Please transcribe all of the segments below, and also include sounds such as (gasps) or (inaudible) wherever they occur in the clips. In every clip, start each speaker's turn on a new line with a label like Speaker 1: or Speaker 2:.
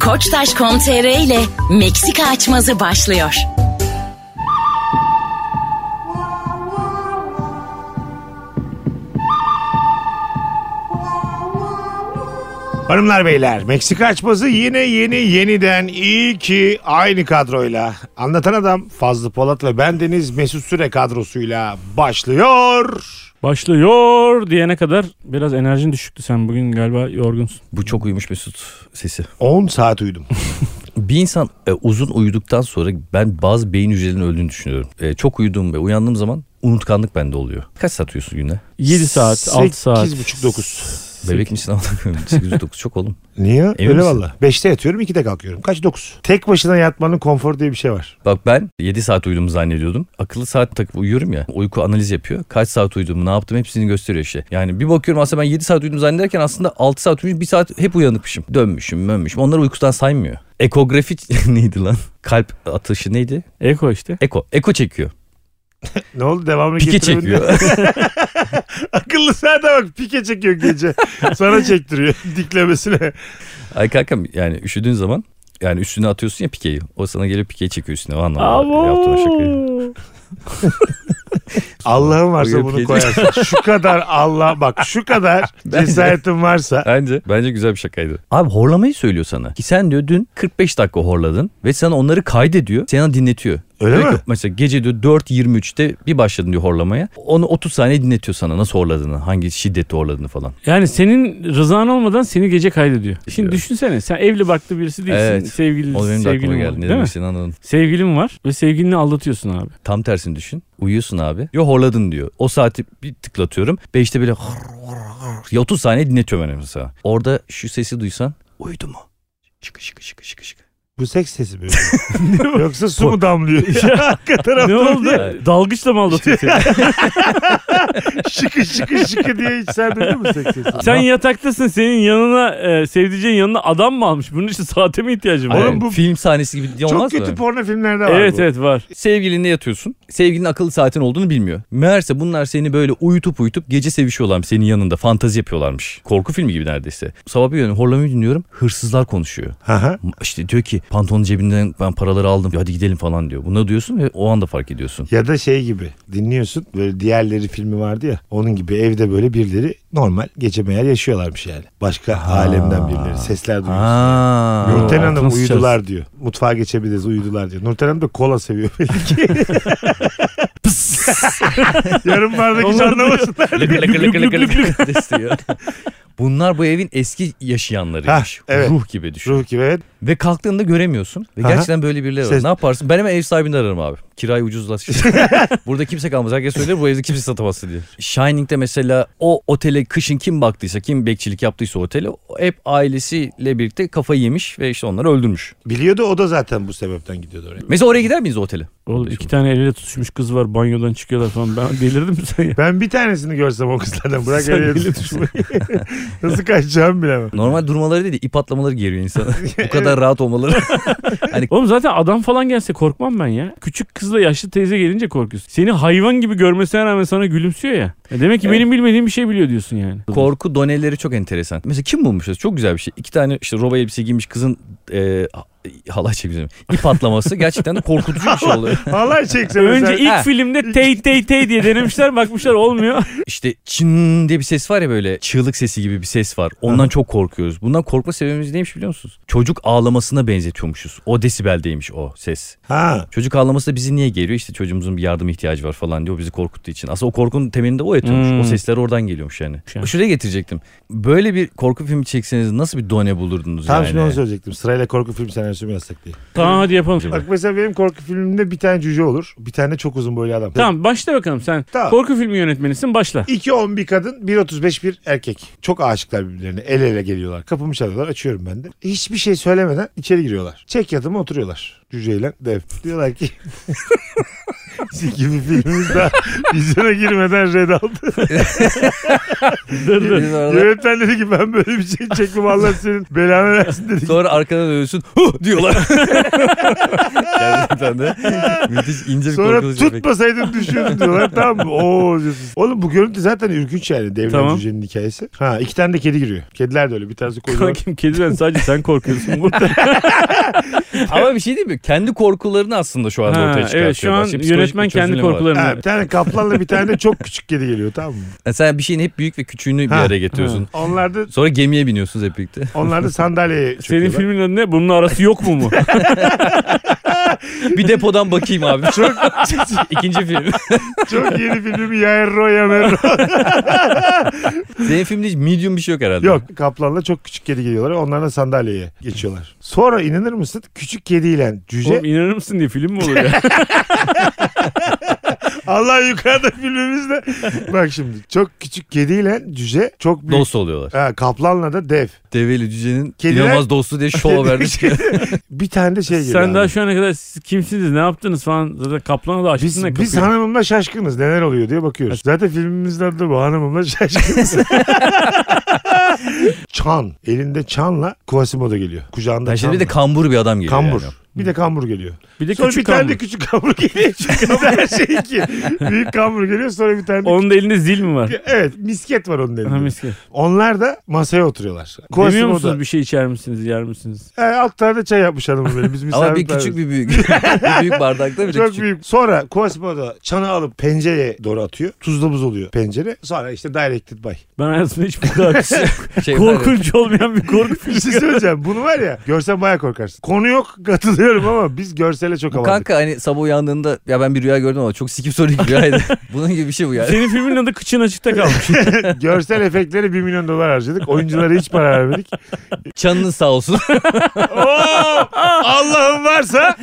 Speaker 1: Koçtaş.com.tr ile Meksika açmazı başlıyor.
Speaker 2: Hanımlar beyler Meksika açması yine yeni yeniden iyi ki aynı kadroyla anlatan adam Fazlı Polat ve bendeniz Mesut Süre kadrosuyla başlıyor.
Speaker 3: Başlıyor diyene kadar biraz enerjin düşüktü sen bugün galiba yorgunsun.
Speaker 4: Bu çok uyumuş Mesut sesi.
Speaker 2: 10 saat uyudum.
Speaker 4: Bir insan e, uzun uyuduktan sonra ben bazı beyin hücrelerinin öldüğünü düşünüyorum. E, çok uyuduğum ve uyandığım zaman unutkanlık bende oluyor. Kaç saat uyuyorsun günde?
Speaker 3: 7 saat, 6 saat.
Speaker 2: 8.30-9.
Speaker 4: Bebek misin? (laughs) 8-9 çok oğlum.
Speaker 2: Niye? Öyle
Speaker 4: misin?
Speaker 2: valla. 5'te yatıyorum 2'de kalkıyorum. Kaç 9? Tek başına yatmanın konforu diye bir şey var.
Speaker 4: Bak ben 7 saat uyuduğumu zannediyordum. Akıllı saat takıp uyuyorum ya. Uyku analiz yapıyor. Kaç saat uyuduğumu, ne yaptım hepsini gösteriyor işte. Yani bir bakıyorum aslında ben 7 saat uyudum zannederken aslında 6 saat uyumuş, 1 saat hep uyanıkmışım. Dönmüşüm, dönmüşüm. Onları uykudan saymıyor. Ekografi (laughs) neydi lan? Kalp atışı neydi?
Speaker 3: Eko işte.
Speaker 4: Eko. Eko çekiyor.
Speaker 2: Ne oldu devamını
Speaker 4: Pike
Speaker 2: getirebilir miyim?
Speaker 4: çekiyor.
Speaker 2: (laughs) Akıllı saate bak pike çekiyor gece. Sana çektiriyor (laughs) diklemesine.
Speaker 4: Ay kankam yani üşüdüğün zaman yani üstüne atıyorsun ya pikeyi. O sana geliyor pikeyi çekiyor üstüne. O anlamda yaptığın şakayı.
Speaker 3: Abo.
Speaker 2: Allah'ın varsa
Speaker 4: Uyup
Speaker 2: bunu
Speaker 4: gece-
Speaker 3: (laughs)
Speaker 2: koyarsın. Şu kadar Allah bak şu kadar cesaretin varsa
Speaker 4: Bence, bence güzel bir şakaydı. Abi horlamayı söylüyor sana. Ki sen diyor dün 45 dakika horladın ve sana onları kaydediyor. Sana dinletiyor.
Speaker 2: Öyle
Speaker 4: Diyor ki,
Speaker 2: mi?
Speaker 4: Mesela gece diyor 4.23'te bir başladın diyor horlamaya. Onu 30 saniye dinletiyor sana nasıl horladığını, hangi şiddette horladığını falan.
Speaker 3: Yani senin rızan olmadan seni gece kaydediyor. Şimdi
Speaker 4: Biliyorum.
Speaker 3: düşünsene sen evli barklı birisi değilsin.
Speaker 4: Evet.
Speaker 3: Sevgili,
Speaker 4: O benim de aklıma
Speaker 3: sevgilin
Speaker 4: geldi.
Speaker 3: var.
Speaker 4: Ne
Speaker 3: Değil mi?
Speaker 4: demek istediğini anladım.
Speaker 3: Sevgilin var ve sevgilini aldatıyorsun abi.
Speaker 4: Tam tersini düşün. Uyuyorsun abi. Yo horladın diyor. O saati bir tıklatıyorum. 5'te böyle hır, hır, hır. 30 saniye dinletiyorum ben mesela. Orada şu sesi duysan uyudu mu? Şıkı şıkı şıkı şıkı şıkı.
Speaker 2: Bu seks sesi
Speaker 3: (laughs)
Speaker 2: mi? Yoksa su mu damlıyor? (laughs) Arka taraftan
Speaker 3: ne oldu?
Speaker 4: Evet.
Speaker 3: Dalgıçla mı aldatıyor (laughs) seni?
Speaker 2: şıkı şıkı şıkı diye hiç sen duydun mu seks sesi?
Speaker 3: sen yataktasın senin yanına e, sevdiceğin yanına adam mı almış? Bunun için saate mi ihtiyacın var?
Speaker 2: Oğlum
Speaker 4: Aynen.
Speaker 2: bu-
Speaker 4: film sahnesi gibi diye
Speaker 2: Çok
Speaker 4: olmaz
Speaker 2: kötü
Speaker 4: mı?
Speaker 2: porno filmlerde var
Speaker 3: Evet
Speaker 2: bu.
Speaker 3: evet var.
Speaker 4: Sevgilinle yatıyorsun. Sevgilinin akıllı saatin olduğunu bilmiyor. Meğerse bunlar seni böyle uyutup uyutup gece sevişiyorlar senin yanında. Fantazi yapıyorlarmış. Korku filmi gibi neredeyse. Sabah bir uyanıyorum horlamayı dinliyorum. Hırsızlar konuşuyor.
Speaker 2: Aha.
Speaker 4: İşte diyor ki pantolonun cebinden ben paraları aldım. Hadi gidelim falan diyor. Bunu diyorsun ve o anda fark ediyorsun.
Speaker 2: Ya da şey gibi dinliyorsun böyle diğerleri filmi vardı ya onun gibi evde böyle birileri normal gece meğer yaşıyorlarmış yani. Başka alemden birileri sesler duyuyorsun.
Speaker 4: Ha.
Speaker 2: Nurten
Speaker 4: Aklına
Speaker 2: Hanım
Speaker 4: sıçarız.
Speaker 2: uyudular diyor. Mutfağa geçebiliriz uyudular diyor. Nurten Hanım da kola seviyor belli ki. Yarınlardaki hiç
Speaker 3: Onlar
Speaker 2: anlamasınlar.
Speaker 4: Lık lık lık
Speaker 3: Lük
Speaker 4: lık
Speaker 3: lük
Speaker 4: lık lık istiyor. (laughs) Bunlar bu evin eski yaşayanlarıymış.
Speaker 2: Ha, evet.
Speaker 4: Ruh gibi düşün.
Speaker 2: Ruh gibi evet.
Speaker 4: Ve kalktığında göremiyorsun. Ve
Speaker 2: Aha.
Speaker 4: gerçekten böyle birileri var.
Speaker 2: Ses-
Speaker 4: Ne yaparsın? Ben hemen ev sahibini ararım abi.
Speaker 2: (laughs)
Speaker 4: Kirayı ucuzlaştır. Burada kimse kalmaz. Herkes söyler bu evde kimse satamaz diye. Shining'de mesela o otele kışın kim baktıysa, kim bekçilik yaptıysa otele hep ailesiyle birlikte kafayı yemiş ve işte onları öldürmüş.
Speaker 2: Biliyordu o da zaten bu sebepten gidiyordu oraya.
Speaker 4: Mesela oraya gider miyiz o otele?
Speaker 3: Oğlum iki tane eliyle tutuşmuş kız var banyodan çıkıyorlar falan. Ben delirdim mi sen ya?
Speaker 2: Ben bir tanesini görsem o kızlardan bırak
Speaker 3: Sen
Speaker 2: öyle
Speaker 3: bile
Speaker 2: tutuşmayı. (laughs) Nasıl kaçacağımı bilemem.
Speaker 4: Normal durmaları değil de ip atlamaları
Speaker 2: (laughs)
Speaker 4: geriyor insana. bu kadar rahat olmaları.
Speaker 3: Oğlum zaten adam falan gelse korkmam ben ya. Küçük kızla yaşlı teyze gelince korkuyorsun. Seni hayvan gibi görmesine rağmen sana gülümsüyor ya. E Demek ki
Speaker 4: Evet.
Speaker 3: benim bilmediğim bir şey biliyor diyorsun yani.
Speaker 4: Korku doneleri çok enteresan. Mesela kim bulmuş? Çok güzel bir şey. İki tane işte roba elbise giymiş kızın e, halay çekmiş.
Speaker 2: (laughs)
Speaker 4: İp atlaması gerçekten de korkutucu bir şey oluyor.
Speaker 2: Halay çekse mesela.
Speaker 3: Önce ilk
Speaker 4: Ha.
Speaker 3: filmde tey tey tey diye denemişler bakmışlar olmuyor.
Speaker 4: İşte çın diye bir ses var ya böyle çığlık sesi gibi bir ses var. Ondan çok korkuyoruz. Bundan korkma sebebimiz neymiş biliyor musunuz? Çocuk ağlamasına benzetiyormuşuz. O desibeldeymiş o ses.
Speaker 2: Ha.
Speaker 4: Çocuk ağlaması da bizi niye geliyor? İşte çocuğumuzun bir yardım ihtiyacı var falan diyor. O bizi korkuttuğu için. Aslında o korkunun temelinde o yatıyormuş.
Speaker 3: Hmm.
Speaker 4: O sesler oradan geliyormuş yani.
Speaker 2: Şey.
Speaker 3: Yani.
Speaker 4: Şuraya getirecektim. Böyle bir korku filmi çekseniz nasıl bir done bulurdunuz
Speaker 2: Tam
Speaker 4: yani?
Speaker 2: şimdi onu söyleyecektim. Sırayla korku film senaryosu mu yazsak diye.
Speaker 3: tamam hadi yapalım.
Speaker 2: Bak mesela benim korku filmimde bir tane cüce olur. Bir tane çok uzun boylu adam.
Speaker 3: Tamam başla bakalım sen.
Speaker 2: Tamam.
Speaker 3: Korku filmi
Speaker 2: (laughs)
Speaker 3: yönetmenisin başla.
Speaker 2: 2 bir kadın, 1.35 bir erkek. Çok aşıklar birbirlerine. El ele geliyorlar. Kapımı çalıyorlar. Açıyorum ben de. Hiçbir şey (laughs) söylemeden içeri giriyorlar. Çek yatıma oturuyorlar. Cüceyle dev. Diyorlar ki gibi filmimiz daha vizyona girmeden red
Speaker 4: (laughs)
Speaker 2: aldı.
Speaker 3: Dır dır.
Speaker 2: Yönetmen dedi ki ben böyle bir şey çekmem Allah senin belanı versin dedi.
Speaker 4: Sonra arkadan dönüyorsun huh diyorlar. (laughs) Gerçekten de müthiş ince bir
Speaker 2: Sonra
Speaker 4: korkutucu efekt.
Speaker 2: tutmasaydım düşüyordum
Speaker 4: (laughs)
Speaker 2: diyorlar. Tamam mı? Oo diyorsun. Oğlum bu görüntü zaten ürkünç yani. Devlet
Speaker 3: Tamam.
Speaker 2: Cüce'nin hikayesi. Ha iki tane de kedi giriyor. Kediler de öyle. Bir tanesi koyuyor.
Speaker 3: Kankim kediden sadece sen korkuyorsun (laughs) burada.
Speaker 4: Ama bir şey değil mi? Kendi korkularını aslında şu anda
Speaker 3: Ha,
Speaker 4: ortaya
Speaker 3: evet,
Speaker 4: çıkartıyor.
Speaker 3: şu an
Speaker 4: Başka psikolojik
Speaker 3: yönetmen
Speaker 4: bir
Speaker 3: kendi
Speaker 4: çözümleme var.
Speaker 3: korkularını-
Speaker 2: Ha, bir tane kaplanla bir tane de çok küçük kedi geliyor tamam mı?
Speaker 4: Yani sen bir şeyin hep büyük ve küçüğünü bir
Speaker 2: Ha.
Speaker 4: araya getiriyorsun.
Speaker 2: Onlar da,
Speaker 4: Sonra gemiye biniyorsunuz hep birlikte.
Speaker 2: onlar da sandalyeye
Speaker 3: Senin
Speaker 2: çöküyorlar.
Speaker 3: filmin adı ne? Bunun arası yok mu mu?
Speaker 4: bir depodan bakayım abi. (laughs) Çok ikinci film.
Speaker 2: Çok yeni filmi Yaerro Yamerro.
Speaker 4: Senin filmde hiç medium bir şey yok herhalde.
Speaker 2: Yok kaplanla çok küçük kedi geliyorlar. Onlar da sandalyeye geçiyorlar. Sonra inanır mısın küçük kediyle cüce
Speaker 3: Oğlum inanır mısın diye film mi olur ya?
Speaker 2: Allah yukarıda filmimizde. Bak şimdi çok küçük kediyle cüce çok büyük.
Speaker 4: Dost oluyorlar.
Speaker 2: Ha, kaplanla da dev.
Speaker 4: Develi cücenin
Speaker 2: Kediler-
Speaker 4: inanılmaz dostu diye şov vermiş.
Speaker 2: (laughs) bir tane de şey geliyor.
Speaker 3: sen daha
Speaker 2: abi.
Speaker 3: şu ana kadar siz kimsiniz ne yaptınız falan zaten kaplana da açtın
Speaker 2: biz,
Speaker 3: ne
Speaker 2: biz
Speaker 3: kapıyı.
Speaker 2: hanımımla şaşkınız neler oluyor diye bakıyoruz. Zaten filmimizin adı da bu hanımımla
Speaker 4: (laughs)
Speaker 2: şaşkınız. Çan. Elinde çanla Quasimodo geliyor. Kucağında
Speaker 4: Yani şimdi bir
Speaker 2: çanla.
Speaker 4: de kambur bir adam geliyor.
Speaker 2: Kambur.
Speaker 4: yani.
Speaker 2: Bir de kambur geliyor.
Speaker 3: Bir de
Speaker 2: Sonra
Speaker 3: küçük
Speaker 2: bir tane
Speaker 3: kan
Speaker 2: de
Speaker 3: var.
Speaker 2: küçük kambur geliyor.
Speaker 4: (laughs)
Speaker 2: Biz Her şey iki. Büyük kambur geliyor sonra bir tane de
Speaker 3: Onun da elinde zil mi var?
Speaker 2: Evet misket var onun elinde.
Speaker 3: Ha, misket.
Speaker 2: Onlar da masaya oturuyorlar.
Speaker 3: Demiyor
Speaker 2: Quasimodo.
Speaker 3: musunuz bir şey içer misiniz yer misiniz?
Speaker 2: E, alt tarafta çay yapmış hanımım benim. Biz
Speaker 4: Ama bir
Speaker 2: misafirperveriz.
Speaker 4: küçük bir büyük. (laughs) bir büyük bardakta bir de
Speaker 2: Çok
Speaker 4: küçük.
Speaker 2: büyük. şey Sonra Quasimodo çanı alıp pencereye doğru atıyor. Tuzla buz oluyor pencere. Sonra işte directed (laughs) by.
Speaker 3: Ben hayatımda hiç bu
Speaker 4: (laughs)
Speaker 3: kadar
Speaker 4: Şey var ya,
Speaker 3: korkunç olmayan bir korku
Speaker 4: (laughs)
Speaker 2: Bir şey söyleyeceğim. Bunu var ya görsen baya korkarsın. Konu yok (laughs) katılıyorum ama biz görsele çok
Speaker 4: Bu
Speaker 2: havaldık.
Speaker 4: kanka hani sabah uyandığında ya ben bir rüya gördüm ama çok sikip soru
Speaker 3: (laughs)
Speaker 4: gibi rüyaydı. Bunun gibi bir şey bu yani.
Speaker 3: Senin filmin adı kıçın açıkta
Speaker 4: (laughs)
Speaker 3: kalmış.
Speaker 2: Görsel efektleri 1 milyon dolar harcadık. Oyunculara hiç para vermedik. (laughs)
Speaker 4: Canınız sağ olsun.
Speaker 2: Oo, Allah'ım varsa.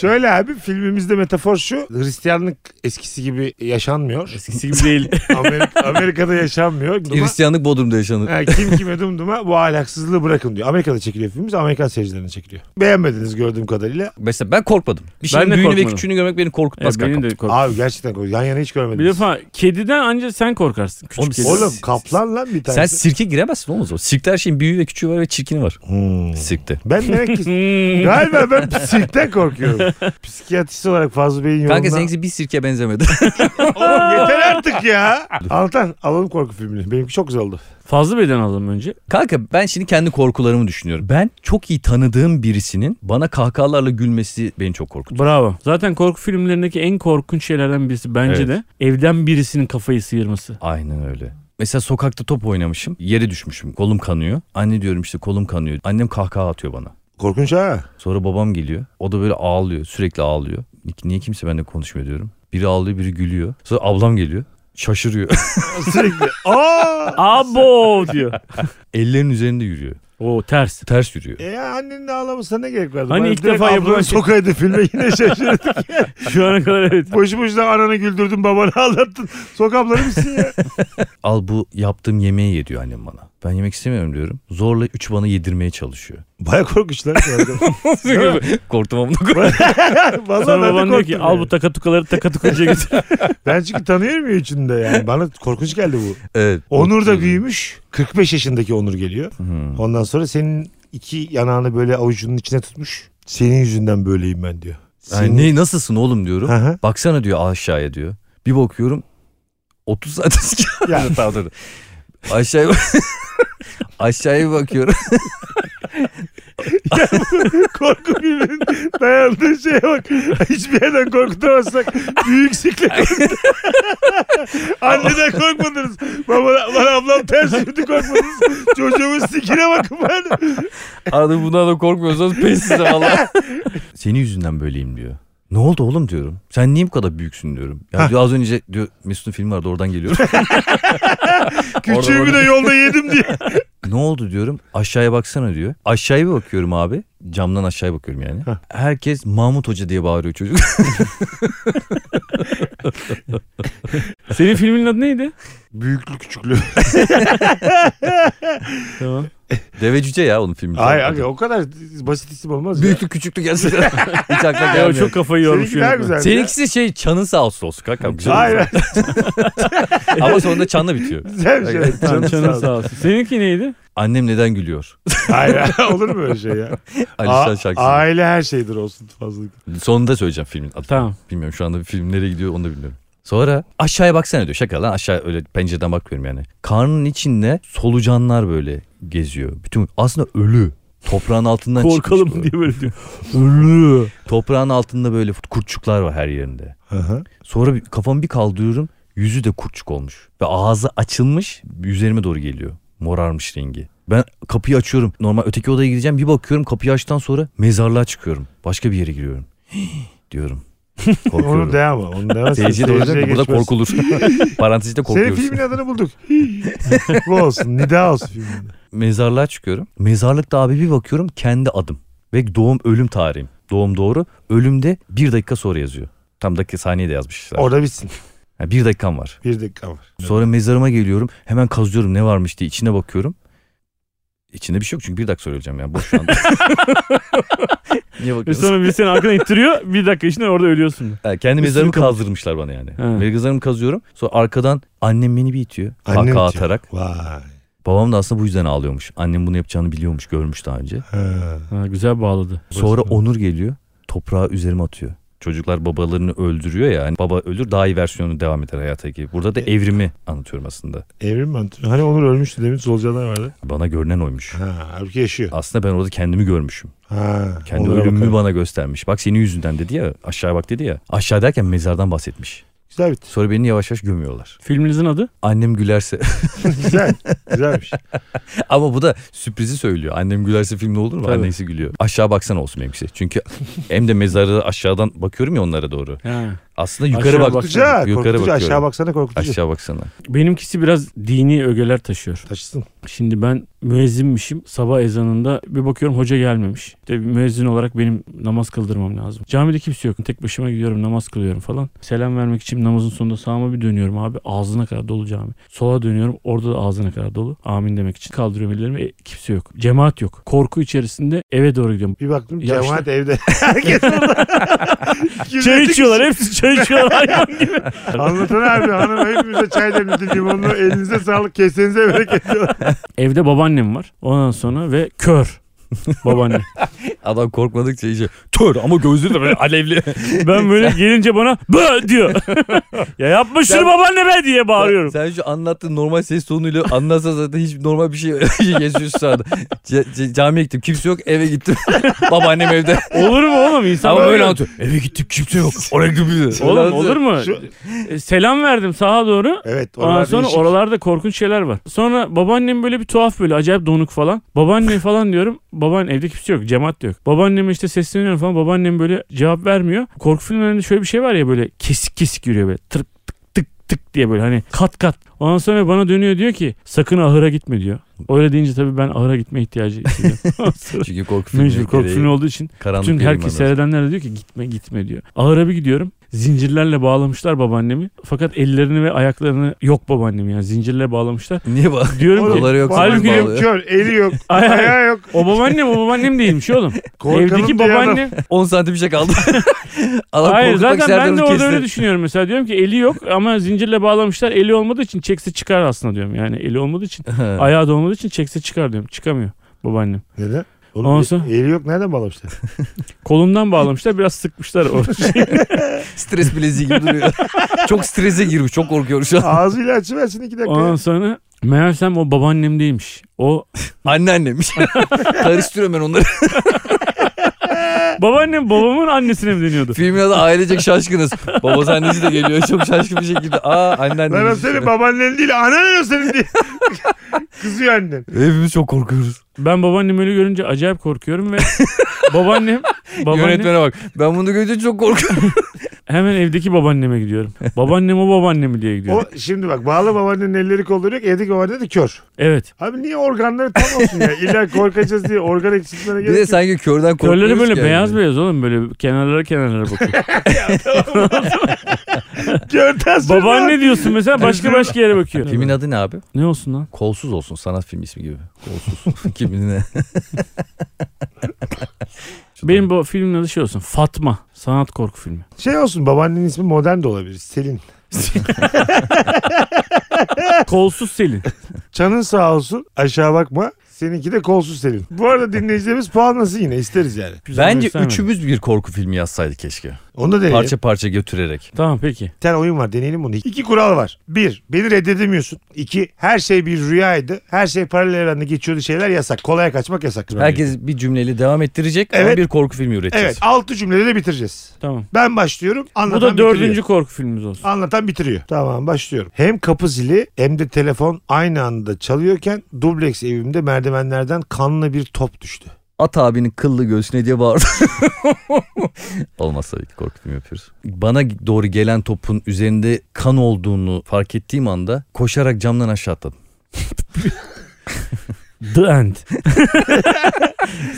Speaker 2: Şöyle abi filmimizde metafor şu. Hristiyanlık eskisi gibi yaşanmıyor.
Speaker 3: (laughs) Eskisi gibi değil.
Speaker 2: Amerika- Amerika'da (laughs) yaşanmıyor. Duma-
Speaker 4: (laughs) Hristiyanlık Bodrum'da yaşanır.
Speaker 2: Ha, kim kime dumduma bu ahlaksızlığı bırakın diyor. Amerika'da çekiliyor filmimiz. Amerikan seyircilerine çekiliyor. Beğenmediniz gördüğüm kadarıyla.
Speaker 4: Mesela ben korkmadım. Bir şeyin
Speaker 3: Ben de
Speaker 4: büyüğünü ve
Speaker 3: korkmadım.
Speaker 4: küçüğünü görmek beni
Speaker 3: Ya,
Speaker 4: korkutmaz
Speaker 3: benim
Speaker 4: kankam.
Speaker 3: de korku.
Speaker 2: Abi gerçekten korkunç. Yan yana hiç
Speaker 3: Bir
Speaker 2: görmediniz.
Speaker 3: defa kediden ancak sen korkarsın. Küçük
Speaker 4: Oğlum,
Speaker 3: kedi.
Speaker 4: oğlum.
Speaker 2: Oğlum kaplan lan bir
Speaker 4: Sen
Speaker 2: tanesi.
Speaker 4: sirke giremezsin oğlum o zaman. Sirkte her şeyin büyüğü ve küçüğü var ve çirkini var.
Speaker 2: Hmm.
Speaker 4: Sirkte.
Speaker 2: Ben demek
Speaker 3: (laughs)
Speaker 2: ki
Speaker 3: Hmm.
Speaker 2: galiba ben psikolojiden korkuyorum. Psikiyatrist olarak Fazlı Bey'in yolunda.
Speaker 4: Kanka seninkisi bir sirke benzemedi.
Speaker 2: Oğlum yeter artık ya. Altan alalım korku filmini. Benimki çok güzel oldu.
Speaker 3: Fazla beden alalım önce.
Speaker 4: (laughs) Kanka ben şimdi kendi korkularımı düşünüyorum. Ben çok iyi tanıdığım birisinin bana kahkahalarla gülmesi beni çok korkutuyor.
Speaker 3: Bravo. Zaten korku filmlerindeki en korkunç şeylerden birisi bence
Speaker 4: Evet.
Speaker 3: de evden birisinin kafayı sıyırması.
Speaker 4: Aynen öyle. Mesela sokakta top oynamışım. Yere düşmüşüm. Kolum kanıyor. Anne diyorum işte kolum kanıyor. Annem kahkaha atıyor bana.
Speaker 2: Korkunç ha.
Speaker 4: Sonra babam geliyor. O da böyle ağlıyor. Sürekli ağlıyor. Niye kimse benimle konuşmuyor diyorum. Biri ağlıyor biri gülüyor. Sonra ablam geliyor. Şaşırıyor. (laughs)
Speaker 2: Sürekli. Aa!
Speaker 3: Abo diyor.
Speaker 4: Ellerin üzerinde yürüyor.
Speaker 3: O ters.
Speaker 4: Ters yürüyor.
Speaker 2: E ya annenin ağlamasına ne gerek vardı?
Speaker 3: Hani
Speaker 2: Bana
Speaker 3: ilk
Speaker 2: direkt
Speaker 3: defa yapılan
Speaker 2: ablanı
Speaker 3: şey.
Speaker 2: sokaydı filme yine şaşırdık.
Speaker 3: Şu ana kadar evet.
Speaker 2: Boşu boşuna ananı güldürdün babanı ağlattın. Sok ablanı mısın ya?
Speaker 4: Al bu yaptığım yemeği ye diyor annem bana. Ben yemek istemiyorum diyorum. Zorla üç bana yedirmeye çalışıyor.
Speaker 2: Baya korkunçlar.
Speaker 3: (laughs)
Speaker 4: Korktum ama.
Speaker 2: Valla
Speaker 3: Sonra
Speaker 2: ben de
Speaker 3: baban diyor ki
Speaker 2: korktum.
Speaker 3: al bu takatukaları takatukucuya
Speaker 4: (laughs)
Speaker 3: götür.
Speaker 2: Ben çünkü tanıyorum ya içinde yani. Bana korkunç geldi bu.
Speaker 4: Evet.
Speaker 2: Onur da büyümüş. 45 yaşındaki Onur geliyor.
Speaker 4: Hmm.
Speaker 2: Ondan sonra senin iki yanağını böyle avucunun içine tutmuş. Senin yüzünden böyleyim ben diyor.
Speaker 4: Yani
Speaker 2: Senin-
Speaker 4: ne nasılsın oğlum diyorum.
Speaker 2: Hı hı.
Speaker 4: Baksana diyor aşağıya diyor. Bir bakıyorum 30 saat eski.
Speaker 2: (laughs) Ya.
Speaker 4: Tamam, dur. Aşağıya bak- (laughs) Aşağıya bir bakıyorum.
Speaker 2: Korku filminin dayandığı şeye bak. Hiçbir yerden korkutamazsak büyük sikle
Speaker 3: (laughs)
Speaker 2: korktu. Anneden korkmadınız. Baba, lan ablam ters yürüdü korkmadınız. Çocuğumun sikine bakın ben.
Speaker 4: Abi bundan da korkmuyorsanız pes size valla. Senin yüzünden böyleyim diyor. Ne oldu oğlum diyorum. Sen niye bu kadar büyüksün diyorum. Ya diyor, az önce diyor Mesut'un filmi vardı oradan geliyorum.
Speaker 2: Küçüğümü de
Speaker 4: orada.
Speaker 2: yolda yedim diye.
Speaker 4: ne oldu diyorum. Aşağıya baksana diyor. Aşağıya bir bakıyorum abi. Camdan aşağıya bakıyorum yani. Herkes Mahmut Hoca diye bağırıyor çocuk. (laughs)
Speaker 3: Senin filmin adı neydi?
Speaker 2: Büyüklü küçüklü.
Speaker 3: Tamam.
Speaker 4: Deve cüce ya onun
Speaker 2: (laughs)
Speaker 4: filmi.
Speaker 2: Ay abi o kadar basit isim olmaz ya.
Speaker 4: Büyüklük küçüklük yazıyor. Hiç akla
Speaker 3: Ya o
Speaker 4: gelmiyor.
Speaker 3: çok kafayı yormuş.
Speaker 2: Seninki daha
Speaker 3: yönetmen.
Speaker 2: güzel.
Speaker 4: Seninkisi şey çanın sağ olsun olsun kankam. Güzel
Speaker 2: Hayır. hayır,
Speaker 4: olsun. (laughs) Ama sonunda çanla bitiyor.
Speaker 2: Güzel bir şey.
Speaker 3: Canın sağ olsun. Seninki neydi?
Speaker 4: Annem neden gülüyor?
Speaker 2: Hayır hayır, olur mu öyle
Speaker 4: (laughs)
Speaker 2: şey ya?
Speaker 4: Alişan
Speaker 2: A-
Speaker 4: şarkısı.
Speaker 2: aile her şeydir olsun fazlalık.
Speaker 4: Sonunda söyleyeceğim filmin adını.
Speaker 3: Tamam.
Speaker 4: Bilmiyorum şu anda film nereye gidiyor onu da bilmiyorum. Sonra aşağıya baksana diyor. Şaka lan aşağı öyle pencereden bakmıyorum yani. Karnın içinde solucanlar böyle geziyor. Bütün aslında ölü. Toprağın altından (laughs) çıkmış
Speaker 3: Korkalım
Speaker 4: böyle.
Speaker 3: diye böyle diyor. Ölü.
Speaker 4: Toprağın altında böyle kurtçuklar var her yerinde. Sonra bir, kafamı bir kaldırıyorum. Yüzü de kurtçuk olmuş. Ve ağzı açılmış üzerime doğru geliyor. Morarmış rengi. Ben kapıyı açıyorum. Normal öteki odaya gideceğim. Bir bakıyorum kapıyı açtıktan sonra mezarlığa çıkıyorum. Başka bir yere giriyorum. (gasps) (laughs) diyorum. Korkuyorum.
Speaker 2: Onu de ama. Onu demez.
Speaker 4: Seyirciye de o yüzden burada
Speaker 2: geçmez.
Speaker 4: korkulur. Parantezde
Speaker 2: Senin
Speaker 4: korkuyoruz. (laughs)
Speaker 2: filmin adını bulduk. Bu olsun. Nida olsun filmin adı.
Speaker 4: Mezarlığa çıkıyorum. Mezarlıkta abi bir bakıyorum kendi adım. Ve doğum ölüm tarihim. Doğum doğru. Ölümde bir dakika sonra yazıyor. Tam dakika saniye de yazmışlar.
Speaker 2: Orada bitsin.
Speaker 4: Yani bir dakikam var.
Speaker 2: Bir dakika var.
Speaker 4: Sonra mezarıma geliyorum. Hemen kazıyorum ne varmış diye içine bakıyorum. İçinde bir şey yok çünkü bir dakika sonra öleceğim yani boş şu anda. Niye
Speaker 3: Ve
Speaker 4: bakıyorsun?
Speaker 3: E sonra bir seni arkadan ittiriyor. Bir dakika içinde orada ölüyorsun.
Speaker 4: Ha, kendi mezarımı
Speaker 3: Üstünü kapat.
Speaker 4: kazdırmışlar bana yani.
Speaker 3: Ha.
Speaker 4: Mezarımı kazıyorum. Sonra arkadan annem beni bir itiyor.
Speaker 2: Annen
Speaker 4: Kahkaha
Speaker 2: itiyor.
Speaker 4: atarak.
Speaker 2: Vay.
Speaker 4: Babam da aslında bu yüzden ağlıyormuş. Annem bunu yapacağını biliyormuş, görmüş daha önce.
Speaker 2: Ha.
Speaker 3: Ha, güzel bağladı.
Speaker 4: Sonra Onur geliyor, toprağı üzerime atıyor. Çocuklar babalarını öldürüyor ya. Yani baba ölür, daha iyi versiyonu devam eder hayata gibi. Burada da evrimi anlatıyorum aslında.
Speaker 2: Evrim mantığı. Hani Onur ölmüştü demin solucanlar vardı.
Speaker 4: Bana görünen oymuş.
Speaker 2: Ha, halbuki yaşıyor.
Speaker 4: Aslında ben orada kendimi görmüşüm.
Speaker 2: Ha,
Speaker 4: Kendi
Speaker 2: Onur'a
Speaker 4: ölümümü
Speaker 2: bakalım.
Speaker 4: bana göstermiş. Bak senin yüzünden dedi ya, aşağı bak dedi ya. Aşağı derken mezardan bahsetmiş.
Speaker 2: Güzel bitti.
Speaker 4: Sonra beni yavaş yavaş gömüyorlar.
Speaker 3: Filminizin adı?
Speaker 4: Annem gülerse. (laughs)
Speaker 2: Güzel. Güzelmiş.
Speaker 4: Ama bu da sürprizi söylüyor. Annem gülerse film ne olur mu?
Speaker 3: Tabii.
Speaker 4: Annesi gülüyor. Aşağı baksana olsun benimkisi. Çünkü (laughs) hem de mezarı aşağıdan bakıyorum ya onlara doğru.
Speaker 3: Ha.
Speaker 4: Aslında yukarı
Speaker 3: Aşağı
Speaker 4: bak.
Speaker 3: bak.
Speaker 2: Güzel.
Speaker 4: Yukarı
Speaker 2: Korkutucu.
Speaker 4: bakıyorum.
Speaker 2: Aşağı baksana korkutucu.
Speaker 4: Aşağı baksana.
Speaker 3: Benimkisi biraz dini ögeler taşıyor.
Speaker 2: Taşısın.
Speaker 3: Şimdi ben müezzinmişim. Sabah ezanında bir bakıyorum hoca gelmemiş. İşte bir müezzin olarak benim namaz kıldırmam lazım. Camide kimse yok. Tek başıma gidiyorum namaz kılıyorum falan. Selam vermek için namazın sonunda sağıma bir dönüyorum abi. Ağzına kadar dolu cami. Sola dönüyorum orada da ağzına kadar dolu. Amin demek için kaldırıyorum ellerimi. E, kimse yok. Cemaat yok. Korku içerisinde eve doğru gidiyorum.
Speaker 2: Bir baktım
Speaker 3: Yaşlı.
Speaker 2: cemaat evde. (laughs) Herkes
Speaker 3: (laughs)
Speaker 2: orada. Kimse
Speaker 3: Çay
Speaker 2: tek-
Speaker 3: içiyorlar hepsi (laughs) çay içiyorlar hayvan gibi.
Speaker 2: Anlatan abi hanım hepimize çay demledi limonlu. Elinize sağlık kesenize
Speaker 3: (laughs)
Speaker 2: bereket diyorlar.
Speaker 3: Evde babaannem var. Ondan sonra ve (laughs) kör babaanne.
Speaker 4: Adam korkmadıkça iyice tör ama gözleri de
Speaker 3: (laughs)
Speaker 4: böyle alevli.
Speaker 3: Ben böyle gelince bana bı diyor. ya yapma şunu
Speaker 4: Sen-
Speaker 3: babaanne be diye bağırıyorum.
Speaker 4: Sen, sen şu anlattığın normal ses tonuyla anlatsa zaten hiç normal bir şey (laughs) yazıyorsun şu anda. C- c- camiye gittim kimse yok eve gittim. (laughs) Babaannem evde.
Speaker 3: Olur mu oğlum insan
Speaker 4: Ama
Speaker 3: böyle-
Speaker 4: böyle anlatıyor. Eve gittim kimse yok. Oraya gidiyor.
Speaker 3: Oğlum olur mu?
Speaker 2: Şu-
Speaker 3: E, Selam verdim sağa doğru.
Speaker 2: Evet.
Speaker 3: Ondan
Speaker 2: oralar
Speaker 3: sonra
Speaker 2: değişik.
Speaker 3: oralarda korkunç şeyler var. Sonra babaannem böyle bir tuhaf böyle acayip donuk falan. Babaanne falan diyorum. Babaanne evde kimse yok. Cemaat de yok. Babaanneme işte sesleniyorum falan. Babaannem böyle cevap vermiyor. Korku filmlerinde şöyle bir şey var ya böyle kesik kesik yürüyor böyle. Tırk tık tık tık diye böyle hani kat kat. Ondan sonra bana dönüyor diyor ki sakın ahıra gitme diyor. Öyle deyince tabii ben ahıra gitme ihtiyacı hissediyorum. Ondan
Speaker 2: (laughs)
Speaker 3: sonra
Speaker 4: Çünkü korku filmi.
Speaker 3: Mecbur korku filmi olduğu için
Speaker 4: Karanlık
Speaker 3: Tüm
Speaker 4: bir
Speaker 3: herkes
Speaker 4: yayınlanıyor.
Speaker 3: seyredenler de diyor ki gitme gitme diyor. Ağıra bir gidiyorum. Zincirlerle bağlamışlar babaannemi. Fakat ellerini ve ayaklarını yok babaannemi yani zincirle bağlamışlar.
Speaker 4: (laughs) Niye bak? (laughs)
Speaker 3: Diyorum ki
Speaker 4: Doları yok.
Speaker 3: Halbuki
Speaker 4: sonra
Speaker 3: diyorum,
Speaker 4: bağlıyor.
Speaker 2: Kör. Eli yok.
Speaker 3: (laughs) Ay, ay.
Speaker 2: Ayağı yok.
Speaker 3: o babaannem o babaannem değilmiş oğlum.
Speaker 2: Korkanım
Speaker 3: Evdeki
Speaker 2: diye adam.
Speaker 3: babaannem.
Speaker 4: 10 santim bir şey kaldı. (laughs) Adam
Speaker 3: Hayır
Speaker 4: korkutmak
Speaker 3: zaten
Speaker 4: isterdi,
Speaker 3: ben de
Speaker 4: onu
Speaker 3: orada öyle
Speaker 4: kesti.
Speaker 3: düşünüyorum mesela. Diyorum ki eli yok ama zincirle bağlamışlar. Eli olmadığı için çekse çıkar aslında diyorum. Yani eli olmadığı için
Speaker 4: (laughs)
Speaker 3: ayağı da olmadığı için çekse çıkar diyorum. Çıkamıyor babaannem.
Speaker 2: Neden? Oğlum,
Speaker 3: Ondan sonra-
Speaker 2: Eli yok nereden
Speaker 3: (laughs)
Speaker 2: bağlamışlar?
Speaker 3: Kolundan bağlamışlar biraz sıkmışlar orada.
Speaker 4: Stres bileziği gibi duruyor.
Speaker 3: (laughs)
Speaker 4: çok strese girmiş. Çok korkuyorum şu an.
Speaker 2: Ağzıyla açıversin iki dakika.
Speaker 3: Ondan sonra meğersem o babaannem değilmiş. O
Speaker 4: Anneannemiş. (laughs) Karıştırıyorum ben onları.
Speaker 3: Babaannem babamın annesine mi deniyordu?
Speaker 4: Filmin adı ailecek şaşkınız. Babası annesi de geliyor. Çok şaşkın bir şekilde. Aa
Speaker 2: Lan o
Speaker 4: anneannemiş.
Speaker 2: senin babaannen değil anan o senin
Speaker 3: (laughs)
Speaker 2: diye. Kızıyor annen.
Speaker 4: Hepimiz çok korkuyoruz.
Speaker 3: Ben babaannemi öyle görünce
Speaker 4: (laughs)
Speaker 3: acayip korkuyorum ve babaannem babaannem
Speaker 4: Yönetmene bak. Ben bunu görünce çok korkuyorum.
Speaker 3: hemen evdeki babaanneme gidiyorum. Babaannem o babaannemi diye
Speaker 2: O
Speaker 3: gidiyorum.
Speaker 2: şimdi bak bağlı babaannenin elleri kolları yok. Evdeki babaanne de kör.
Speaker 3: Evet.
Speaker 2: Abi niye organları tam olsun ya? İlla korkacağız diye organ eksikliğine
Speaker 4: Bir de
Speaker 2: gerek yok.
Speaker 4: sanki körden korkuyoruz
Speaker 3: Körleri böyle
Speaker 4: ki yani.
Speaker 3: beyaz beyaz oğlum böyle kenarlara kenarlara
Speaker 4: (laughs)
Speaker 3: bakıyor.
Speaker 2: Körden sonra-
Speaker 3: Babaanne diyorsun mesela başka başka yere bakıyor.
Speaker 4: Filmin adı ne abi?
Speaker 3: Ne olsun lan?
Speaker 4: Kolsuz olsun sanat filmi ismi gibi.
Speaker 3: (laughs)
Speaker 4: Kolsuz. Kimin ne? Şu
Speaker 3: Benim bu filmin adı şey olsun. Fatma. Sanat korku
Speaker 4: (laughs)
Speaker 3: filmi.
Speaker 2: Şey olsun babaannenin ismi modern de olabilir. Selin.
Speaker 3: Kolsuz Selin.
Speaker 2: Canın sağ olsun aşağı bakma. Seninki de kolsuz Selin. Bu arada dinleyicilerimiz puanlasın yine isteriz yani.
Speaker 3: Güzel
Speaker 4: Bence
Speaker 3: göstermedi.
Speaker 4: üçümüz bir korku filmi yazsaydı keşke.
Speaker 2: Onu da deneyelim.
Speaker 4: Parça parça götürerek.
Speaker 3: Tamam peki.
Speaker 2: Bir tane oyun var deneyelim bunu. İki kural var. Bir beni reddedemiyorsun. İki her şey bir rüyaydı. Her şey paralel evrende geçiyordu şeyler yasak. Kolaya kaçmak yasak.
Speaker 4: Herkes bir cümleyle devam ettirecek ama
Speaker 2: Evet.
Speaker 4: bir korku filmi üreteceğiz.
Speaker 2: Evet altı cümlede de bitireceğiz.
Speaker 3: Tamam.
Speaker 2: Ben başlıyorum.
Speaker 3: Bu
Speaker 2: Anlatan
Speaker 3: da dördüncü
Speaker 2: bitiriyor.
Speaker 3: korku filmimiz
Speaker 4: (laughs)
Speaker 3: olsun.
Speaker 2: Anlatan bitiriyor. Tamam başlıyorum. Hem kapı zili hem de telefon aynı anda çalıyorken dubleks evimde merdivenlerden kanlı bir top düştü.
Speaker 4: At abinin kıllı göğsüne diye bağırdı. (laughs) Olmaz tabii ki korku filmi yapıyoruz. Bana doğru gelen topun üzerinde kan olduğunu fark ettiğim anda koşarak camdan aşağı atladım.
Speaker 3: The End. (laughs)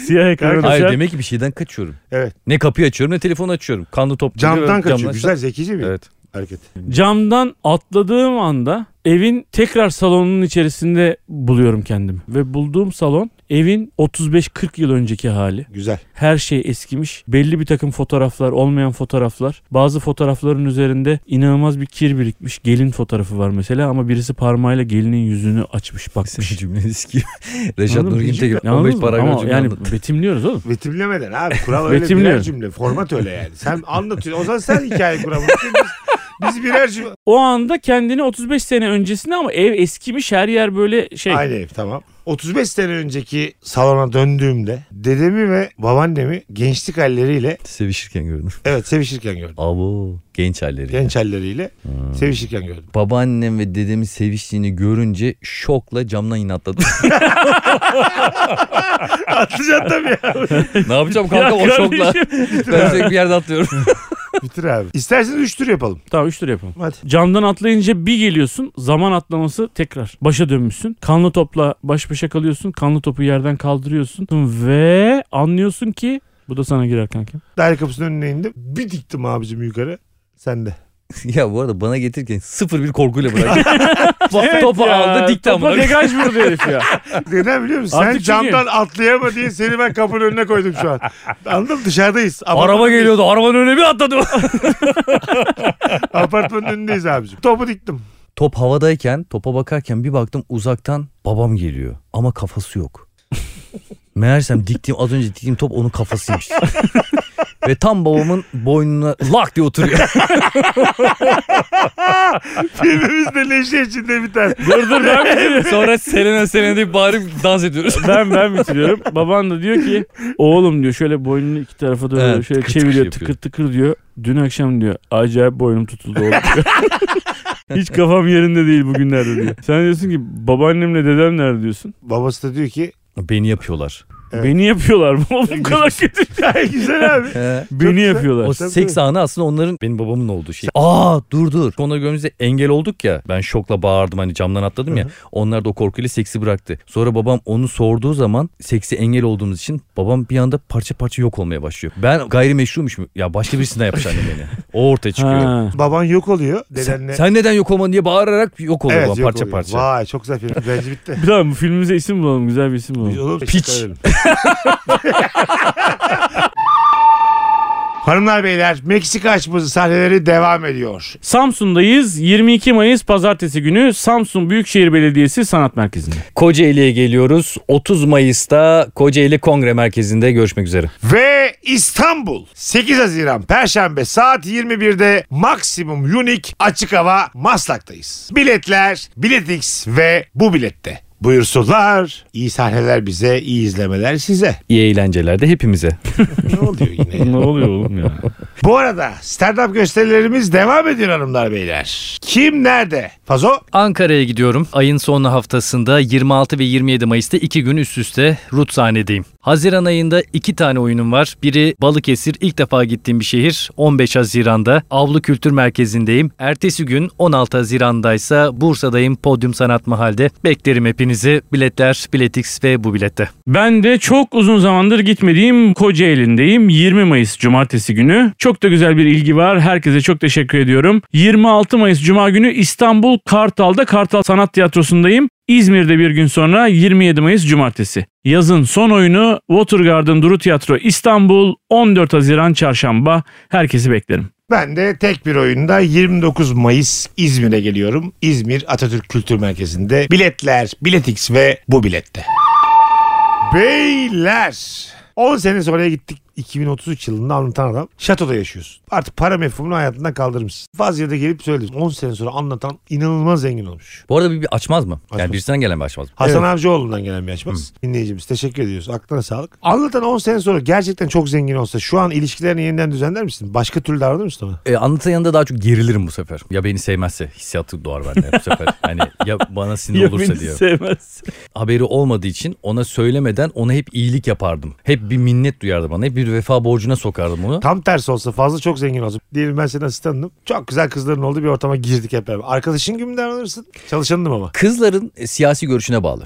Speaker 3: Siyah ekranı
Speaker 2: Kanka,
Speaker 4: Hayır
Speaker 3: düşer.
Speaker 4: demek ki bir şeyden kaçıyorum.
Speaker 2: Evet.
Speaker 4: Ne kapıyı açıyorum ne telefonu açıyorum. Kanlı top.
Speaker 2: Camdan kaçıyor.
Speaker 4: aşağı-
Speaker 2: Güzel zekice bir
Speaker 4: Evet.
Speaker 2: hareket.
Speaker 3: Camdan atladığım anda evin tekrar salonun içerisinde buluyorum kendimi. Ve bulduğum salon evin 35-40 yıl önceki hali.
Speaker 2: Güzel.
Speaker 3: Her şey eskimiş. Belli bir takım fotoğraflar, olmayan fotoğraflar. Bazı fotoğrafların üzerinde inanılmaz bir kir birikmiş. Gelin fotoğrafı var mesela ama birisi parmağıyla gelinin yüzünü açmış bakmış.
Speaker 4: (laughs) Senin cümleni sikeyim.
Speaker 3: (laughs)
Speaker 4: Reşat
Speaker 3: Anladın mı?
Speaker 4: Nurgin Tekin
Speaker 3: Yalnız
Speaker 4: 15 paragraf
Speaker 3: ama
Speaker 4: cümle
Speaker 3: yani (laughs)
Speaker 4: anlattı.
Speaker 3: betimliyoruz oğlum.
Speaker 2: Betimlemeden abi. Kural öyle birer
Speaker 3: Betimliyorum.
Speaker 2: cümle. Format öyle yani. Sen anlatıyorsun. O zaman sen hikaye kuralım. Biz, biz birer cümle.
Speaker 3: O anda kendini 35 sene öncesinde ama ev eskimiş her yer böyle şey.
Speaker 2: Aynı ev tamam. 35 sene önceki salona döndüğümde dedemi ve babaannemi gençlik halleriyle
Speaker 4: Sevişirken gördüm.
Speaker 2: evet sevişirken gördüm.
Speaker 4: Abo genç halleri.
Speaker 2: Genç halleriyle sevişirken gördüm.
Speaker 4: (laughs) Babaannem ve dedemin seviştiğini görünce şokla camdan yine atladım.
Speaker 2: Atlayacaksın tabii ya.
Speaker 4: ne yapacağım
Speaker 3: Ya
Speaker 4: kanka o şokla.
Speaker 3: kardeşim.
Speaker 4: Ben sürekli bir yerde atlıyorum.
Speaker 2: Bitir abi. İsterseniz 3 tur yapalım.
Speaker 3: tamam 3 tur yapalım.
Speaker 2: Hadi.
Speaker 3: Camdan atlayınca bir geliyorsun zaman atlaması tekrar başa dönmüşsün. Kanlı topla baş başa kalıyorsun. Kanlı topu yerden kaldırıyorsun ve anlıyorsun ki bu da sana girer (laughs) kanka.
Speaker 2: Daire kapısının önüne indim. Bir diktim abicim yukarı. Sen de.
Speaker 4: (laughs) ya bu arada bana getirirken sıfır bir korkuyla (laughs) bıraktı. topu aldı dikti
Speaker 3: Topa
Speaker 4: ama.
Speaker 3: degaj vurdu herif ya.
Speaker 2: Neden biliyor musun? Sen
Speaker 3: Artık çünkü-
Speaker 2: camdan atlayama diye seni ben kapının önüne koydum şu
Speaker 4: (laughs)
Speaker 2: an. Anladın mı? Dışarıdayız.
Speaker 4: Araba geliyordu arabanın önüne bir atladı.
Speaker 2: Apartmanın önündeyiz abicim. Topu diktim.
Speaker 4: (laughs) (laughs) Top havadayken topa bakarken bir baktım uzaktan babam geliyor ama kafası yok. Meğersem diktiğim az önce diktiğim top onun (laughs) kafasıymış. Ve tam babamın boynuna lak diye oturuyor.
Speaker 2: Filmimiz de leşe içinde biter.
Speaker 3: Dur dur ben
Speaker 4: (laughs)
Speaker 3: bitiriyorum.
Speaker 4: Sonra Selena Selena deyip bağırıp dans ediyoruz.
Speaker 3: (laughs) Ben ben bitiriyorum. Baban da diyor ki oğlum diyor şöyle boynunu iki tarafa doğru
Speaker 4: Evet,
Speaker 3: şöyle
Speaker 4: tıkır tıkır
Speaker 3: çeviriyor
Speaker 4: yapıyor.
Speaker 3: tıkır tıkır diyor. Dün akşam diyor acayip boynum tutuldu oğlum diyor. (laughs) Hiç kafam yerinde değil bugünlerde diyor. Sen diyorsun ki babaannemle dedem nerede diyorsun.
Speaker 2: Babası da diyor ki
Speaker 4: Beni yapıyorlar.
Speaker 2: Evet.
Speaker 3: Beni yapıyorlar mı? Bu kadar kötü. (laughs)
Speaker 2: "Ay, güzel abi.
Speaker 3: Beni
Speaker 2: güzel.
Speaker 4: O
Speaker 3: yapıyorlar.
Speaker 2: tabii.
Speaker 4: seks anı aslında onların benim babamın olduğu şey. Aa dur dur. Sonra gömümüzde engel olduk ya. Ben şokla bağırdım hani camdan atladım ya. Onlar da o korkuyla seksi bıraktı. Sonra babam onu sorduğu zaman seksi engel olduğumuz için babam bir anda parça parça yok olmaya başlıyor. Ben gayrimeşrumuşum. Ya başka birisinden yapmış annem beni. O ortaya çıkıyor.
Speaker 3: Ha.
Speaker 2: Baban yok oluyor.
Speaker 4: Sen,
Speaker 2: Dedenle.
Speaker 4: sen neden yok olman diye bağırarak yok oluyor babam
Speaker 2: yok
Speaker 4: parça
Speaker 2: oluyor.
Speaker 4: parça.
Speaker 2: Vay çok güzel film. Bence
Speaker 4: (laughs)
Speaker 2: bitti.
Speaker 3: Bir daha bu filmimize isim bulalım. Güzel bir isim bulalım.
Speaker 2: Olur,
Speaker 4: Piç.
Speaker 2: teşekkür ederim. (laughs) Hanımlar beyler Meksika açması sahneleri devam ediyor.
Speaker 3: Samsun'dayız. 22 Mayıs pazartesi günü Samsun Büyükşehir Belediyesi Sanat
Speaker 4: (laughs)
Speaker 3: Merkezi'nde.
Speaker 4: Kocaeli'ye geliyoruz. 30 Mayıs'ta Kocaeli Kongre Merkezi'nde görüşmek üzere.
Speaker 2: Ve İstanbul 8 Haziran Perşembe saat 21'de Maximum Unique Açık Hava Maslak'tayız. Biletler Biletix ve bu bilette. Buyursunlar. İyi sahneler bize, iyi izlemeler size.
Speaker 4: İyi eğlenceler de hepimize.
Speaker 2: Ne oluyor yine? ya?
Speaker 3: ne oluyor oğlum ya?
Speaker 2: Bu arada stand-up gösterilerimiz devam ediyor hanımlar beyler. Kim nerede? Fazo?
Speaker 4: Ankara'ya gidiyorum. Ayın son haftasında 26 ve 27 Mayıs'ta iki gün üst üste Rut sahnedeyim. Haziran ayında iki tane oyunum var. Biri Balıkesir ilk defa gittiğim bir şehir 15 Haziran'da Avlu Kültür Merkezi'ndeyim. Ertesi gün 16 Haziran'daysa Bursa'dayım Podyum Sanat Mahal'de. Beklerim hepinizi. Biletler, Biletix ve bu bilette.
Speaker 3: Ben de çok uzun zamandır gitmediğim Kocaeli'ndeyim. 20 Mayıs Cumartesi günü. Çok da güzel bir ilgi var. Herkese çok teşekkür ediyorum. 26 Mayıs Cuma günü İstanbul Kartal'da Kartal Sanat Tiyatrosu'ndayım. İzmir'de bir gün sonra 27 Mayıs Cumartesi. Yazın son oyunu Watergarden Duru Tiyatro İstanbul 14 Haziran Çarşamba. Herkesi beklerim.
Speaker 2: Ben de tek bir oyunda 29 Mayıs İzmir'e geliyorum. İzmir Atatürk Kültür Merkezi'nde biletler, biletix ve bu bilette. Beyler 10 sene sonraya gittik 2033 yılında anlatan adam şatoda yaşıyorsun. Artık para mefhumunu hayatından kaldırmışsın. Fazla da gelip söyledim. 10 sene sonra anlatan inanılmaz zengin olmuş.
Speaker 4: Bu arada bir, bir açmaz mı?
Speaker 2: Açmaz.
Speaker 4: Yani birisinden gelen bir açmaz mı?
Speaker 2: Hasan Avcıoğlu'ndan gelen bir açmaz. Dinleyicimiz teşekkür ediyoruz. Aklına sağlık. Anlatan 10 sene sonra gerçekten çok zengin olsa şu an ilişkilerini yeniden düzenler misin? Başka türlü davranır mısın ona?
Speaker 4: E, anlatan yanında daha çok gerilirim bu sefer. Ya beni sevmezse hissiyatı doğar bende bu
Speaker 2: (laughs)
Speaker 4: sefer. Hani ya bana sinir olursa diye.
Speaker 3: sevmez.
Speaker 4: haberi olmadığı için ona söylemeden ona hep iyilik yapardım. Hep bir minnet duyardı bana. Hep bir vefa borcuna sokardım onu.
Speaker 2: Tam tersi olsa fazla çok zengin olsa. Diyelim ben senin asistanınım. Çok güzel kızların olduğu bir ortama girdik hep beraber. Arkadaşın gibi mi davranırsın? Çalışanınım ama.
Speaker 4: Kızların e, siyasi görüşüne bağlı.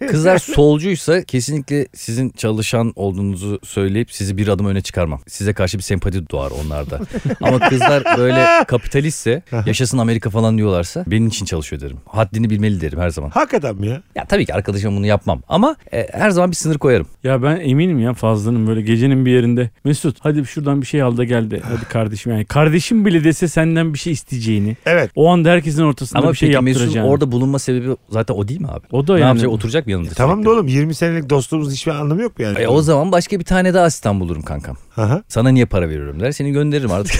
Speaker 2: (laughs)
Speaker 4: Kızlar solcuysa kesinlikle sizin çalışan olduğunuzu söyleyip sizi bir adım öne çıkarmam. Size karşı bir sempati doğar
Speaker 2: (laughs)
Speaker 4: onlarda. Ama kızlar böyle kapitalistse, yaşasın Amerika falan diyorlarsa benim için çalışıyor derim. Haddini bilmeli derim her zaman.
Speaker 2: Hakikaten mi ya?
Speaker 4: Ya tabii ki arkadaşım bunu yapmam ama e, her zaman bir sınır koyarım.
Speaker 3: Ya ben eminim ya Fazlı'nın böyle gecenin bir yerinde Mesut hadi şuradan bir şey al da gel de
Speaker 4: Ah.
Speaker 3: hadi kardeşim yani kardeşim bile dese senden bir şey isteyeceğini
Speaker 2: Evet.
Speaker 3: o anda herkesin ortasında
Speaker 4: Ama
Speaker 3: bir şey
Speaker 4: peki Mesut'un
Speaker 3: yaptıracağını.
Speaker 4: orada bulunma sebebi zaten o değil mi abi?
Speaker 3: O da
Speaker 4: ne
Speaker 3: yani-
Speaker 4: yapacak? Oturacak mı yanında?
Speaker 2: E, Tamam
Speaker 4: sürekli?
Speaker 2: da oğlum 20 senelik dostluğumuz hiçbir anlamı yok mu yani?
Speaker 4: E, o zaman başka bir tane daha asistan bulurum kankam.
Speaker 2: Aha.
Speaker 4: Sana niye para veriyorum der. Seni
Speaker 3: (laughs)
Speaker 4: gönderirim artık.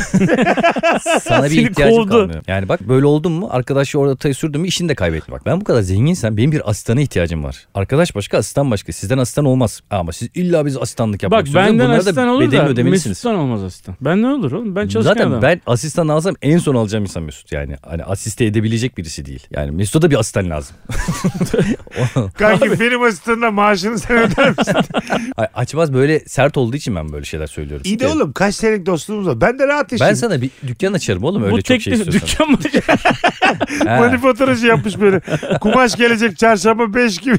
Speaker 4: Sana bir
Speaker 3: Seni
Speaker 4: ihtiyacım
Speaker 3: kovdu.
Speaker 4: kalmıyor. Yani bak böyle oldun mu arkadaşı orada tayı sürdün mü işini de kaybetti. Bak ben bu kadar zenginsem benim bir asistana ihtiyacım var. Arkadaş başka asistan başka. Sizden asistan olmaz. Ama siz illa biz asistanlık yapmak
Speaker 3: Bak benden asistan olur
Speaker 4: bedelini
Speaker 3: da
Speaker 4: ödemelisiniz.
Speaker 3: Mesut'tan olmaz asistan. Benden olur oğlum ben çalışkan
Speaker 4: Zaten
Speaker 3: adamım.
Speaker 4: ben asistan alsam en son alacağım insan Mesut yani. Hani asiste edebilecek birisi değil. Yani Mesut'a da bir asistan lazım.
Speaker 2: Kanki benim asistanına maaşını sen öder misin?
Speaker 4: Ay, Açmaz böyle sert olduğu için ben böyle şeyler söylüyorum.
Speaker 2: (laughs) İyi de oğlum kaç senelik dostluğumuz var. Ben de rahat
Speaker 4: Ben
Speaker 2: yaşayayım.
Speaker 4: sana bir dükkan açarım oğlum öyle
Speaker 3: Bu
Speaker 4: çok şey
Speaker 3: teklif
Speaker 4: istiyorsan.
Speaker 3: dükkan mı? (laughs)
Speaker 4: Ha.
Speaker 2: Manifaturacı yapmış böyle. Kumaş gelecek çarşamba 5 (laughs) gibi.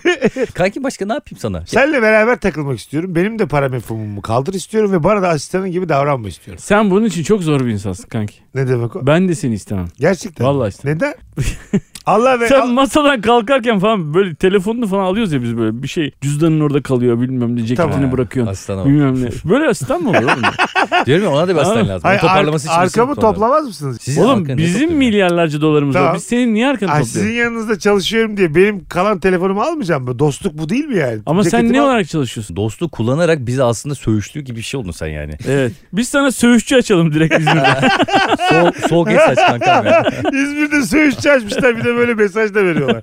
Speaker 4: Kanki başka ne yapayım sana?
Speaker 2: Senle beraber takılmak istiyorum. Benim de para mefhumumu kaldır istiyorum ve bana da asistanın gibi davranma istiyorum.
Speaker 3: Sen bunun için çok zor bir insansın kanki.
Speaker 2: Ne demek o?
Speaker 3: Ben de seni istemem.
Speaker 2: Gerçekten.
Speaker 3: Vallahi işte.
Speaker 2: Neden? (laughs) Allah ve
Speaker 3: Sen masadan kalkarken falan böyle telefonunu falan alıyoruz ya biz böyle bir şey cüzdanın orada kalıyor bilmem ne ceketini
Speaker 2: Tamam.
Speaker 3: bırakıyorsun.
Speaker 4: Aslan ama.
Speaker 3: Bilmem ne. Böyle asistan mı olur
Speaker 4: (laughs)
Speaker 3: oğlum?
Speaker 4: Diyorum ya ona da bir aslan
Speaker 3: Aa.
Speaker 4: lazım. Onu
Speaker 2: Hayır,
Speaker 4: toparlaması
Speaker 2: ar-
Speaker 4: için birisini
Speaker 2: arkamı
Speaker 4: toplamam lazım.
Speaker 2: toplamaz mısınız?
Speaker 4: Sizin
Speaker 3: Oğlum
Speaker 4: arkanı niye
Speaker 3: bizim
Speaker 4: topluyorum?
Speaker 3: milyarlarca dolarımız
Speaker 2: Tamam.
Speaker 3: var. Biz senin niye arkanı
Speaker 2: Ay,
Speaker 3: topluyoruz?
Speaker 2: sizin yanınızda çalışıyorum diye benim kalan telefonumu almayacağım mı? Dostluk bu değil mi yani?
Speaker 3: Ama sen
Speaker 2: Ceketimi
Speaker 3: ne
Speaker 2: al-
Speaker 3: olarak çalışıyorsun? (laughs)
Speaker 4: Dostluğu kullanarak bizi aslında söğüştüğü gibi bir şey oldun sen yani.
Speaker 3: Evet. Biz sana söğüşçü açalım direkt
Speaker 4: (laughs)
Speaker 3: İzmir'de.
Speaker 4: Soğuk, soğuk et saç kankam ya.
Speaker 2: (laughs) İzmir'de söğüşçü açmışlar bir de böyle mesaj da
Speaker 4: (laughs)
Speaker 2: veriyorlar.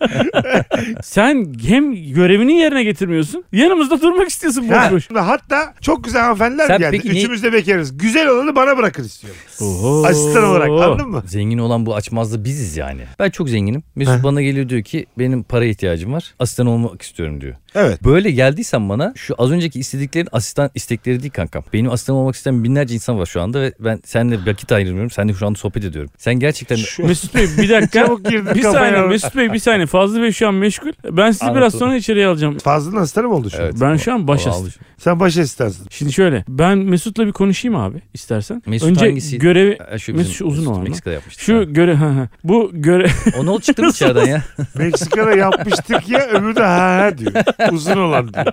Speaker 3: sen hem görevini yerine getirmiyorsun. Yanımızda durmak istiyorsun boş
Speaker 2: Ha,
Speaker 3: boş.
Speaker 2: şimdi hatta çok güzel hanımefendiler
Speaker 4: Sen
Speaker 2: geldi.
Speaker 4: peki ne-
Speaker 2: Üçümüz de bekarız. Güzel olanı bana bırakın istiyorum.
Speaker 3: Oho.
Speaker 2: Asistan olarak anladın mı?
Speaker 4: Zengin olan bu açmazlı biziz yani. Ben çok zenginim. Mesut bana geliyor diyor ki benim para ihtiyacım var. Asistan olmak istiyorum diyor.
Speaker 2: Evet.
Speaker 4: Böyle geldiysen bana şu az önceki istediklerin asistan istekleri değil kankam. Benim asistan olmak isteyen binlerce insan var şu anda ve ben seninle vakit ayırmıyorum. Seninle şu anda sohbet ediyorum. Sen gerçekten
Speaker 3: Mesut Bey bir dakika.
Speaker 2: Çabuk girdin
Speaker 3: bir
Speaker 2: kafaya.
Speaker 3: saniye Mesut Bey bir saniye. Fazlı Bey şu an meşgul. Ben sizi
Speaker 4: Anladım.
Speaker 3: biraz sonra içeriye alacağım.
Speaker 2: Fazlının asistanı mı oldu şu an?
Speaker 4: Evet,
Speaker 3: Ben
Speaker 4: o-
Speaker 3: şu an baş
Speaker 4: o
Speaker 3: asistan.
Speaker 4: alış-
Speaker 2: Sen baş asistansın.
Speaker 3: Şimdi şöyle ben Mesut'la bir konuşayım abi istersen.
Speaker 4: Mesut
Speaker 3: Önce
Speaker 4: hangisi? Ee,
Speaker 3: görevi
Speaker 4: Ha, Şu
Speaker 3: Mesut
Speaker 4: bizim-
Speaker 3: şu uzun
Speaker 4: Mesut
Speaker 3: olan.
Speaker 4: Meksika'da yapmıştı.
Speaker 3: şu göre ha, ha. bu göre
Speaker 4: O ne oldu çıktı mı içeriden ya?
Speaker 2: Meksika'da yapmıştık ya öbürü de ha ha diyor. Uzun olan diyor.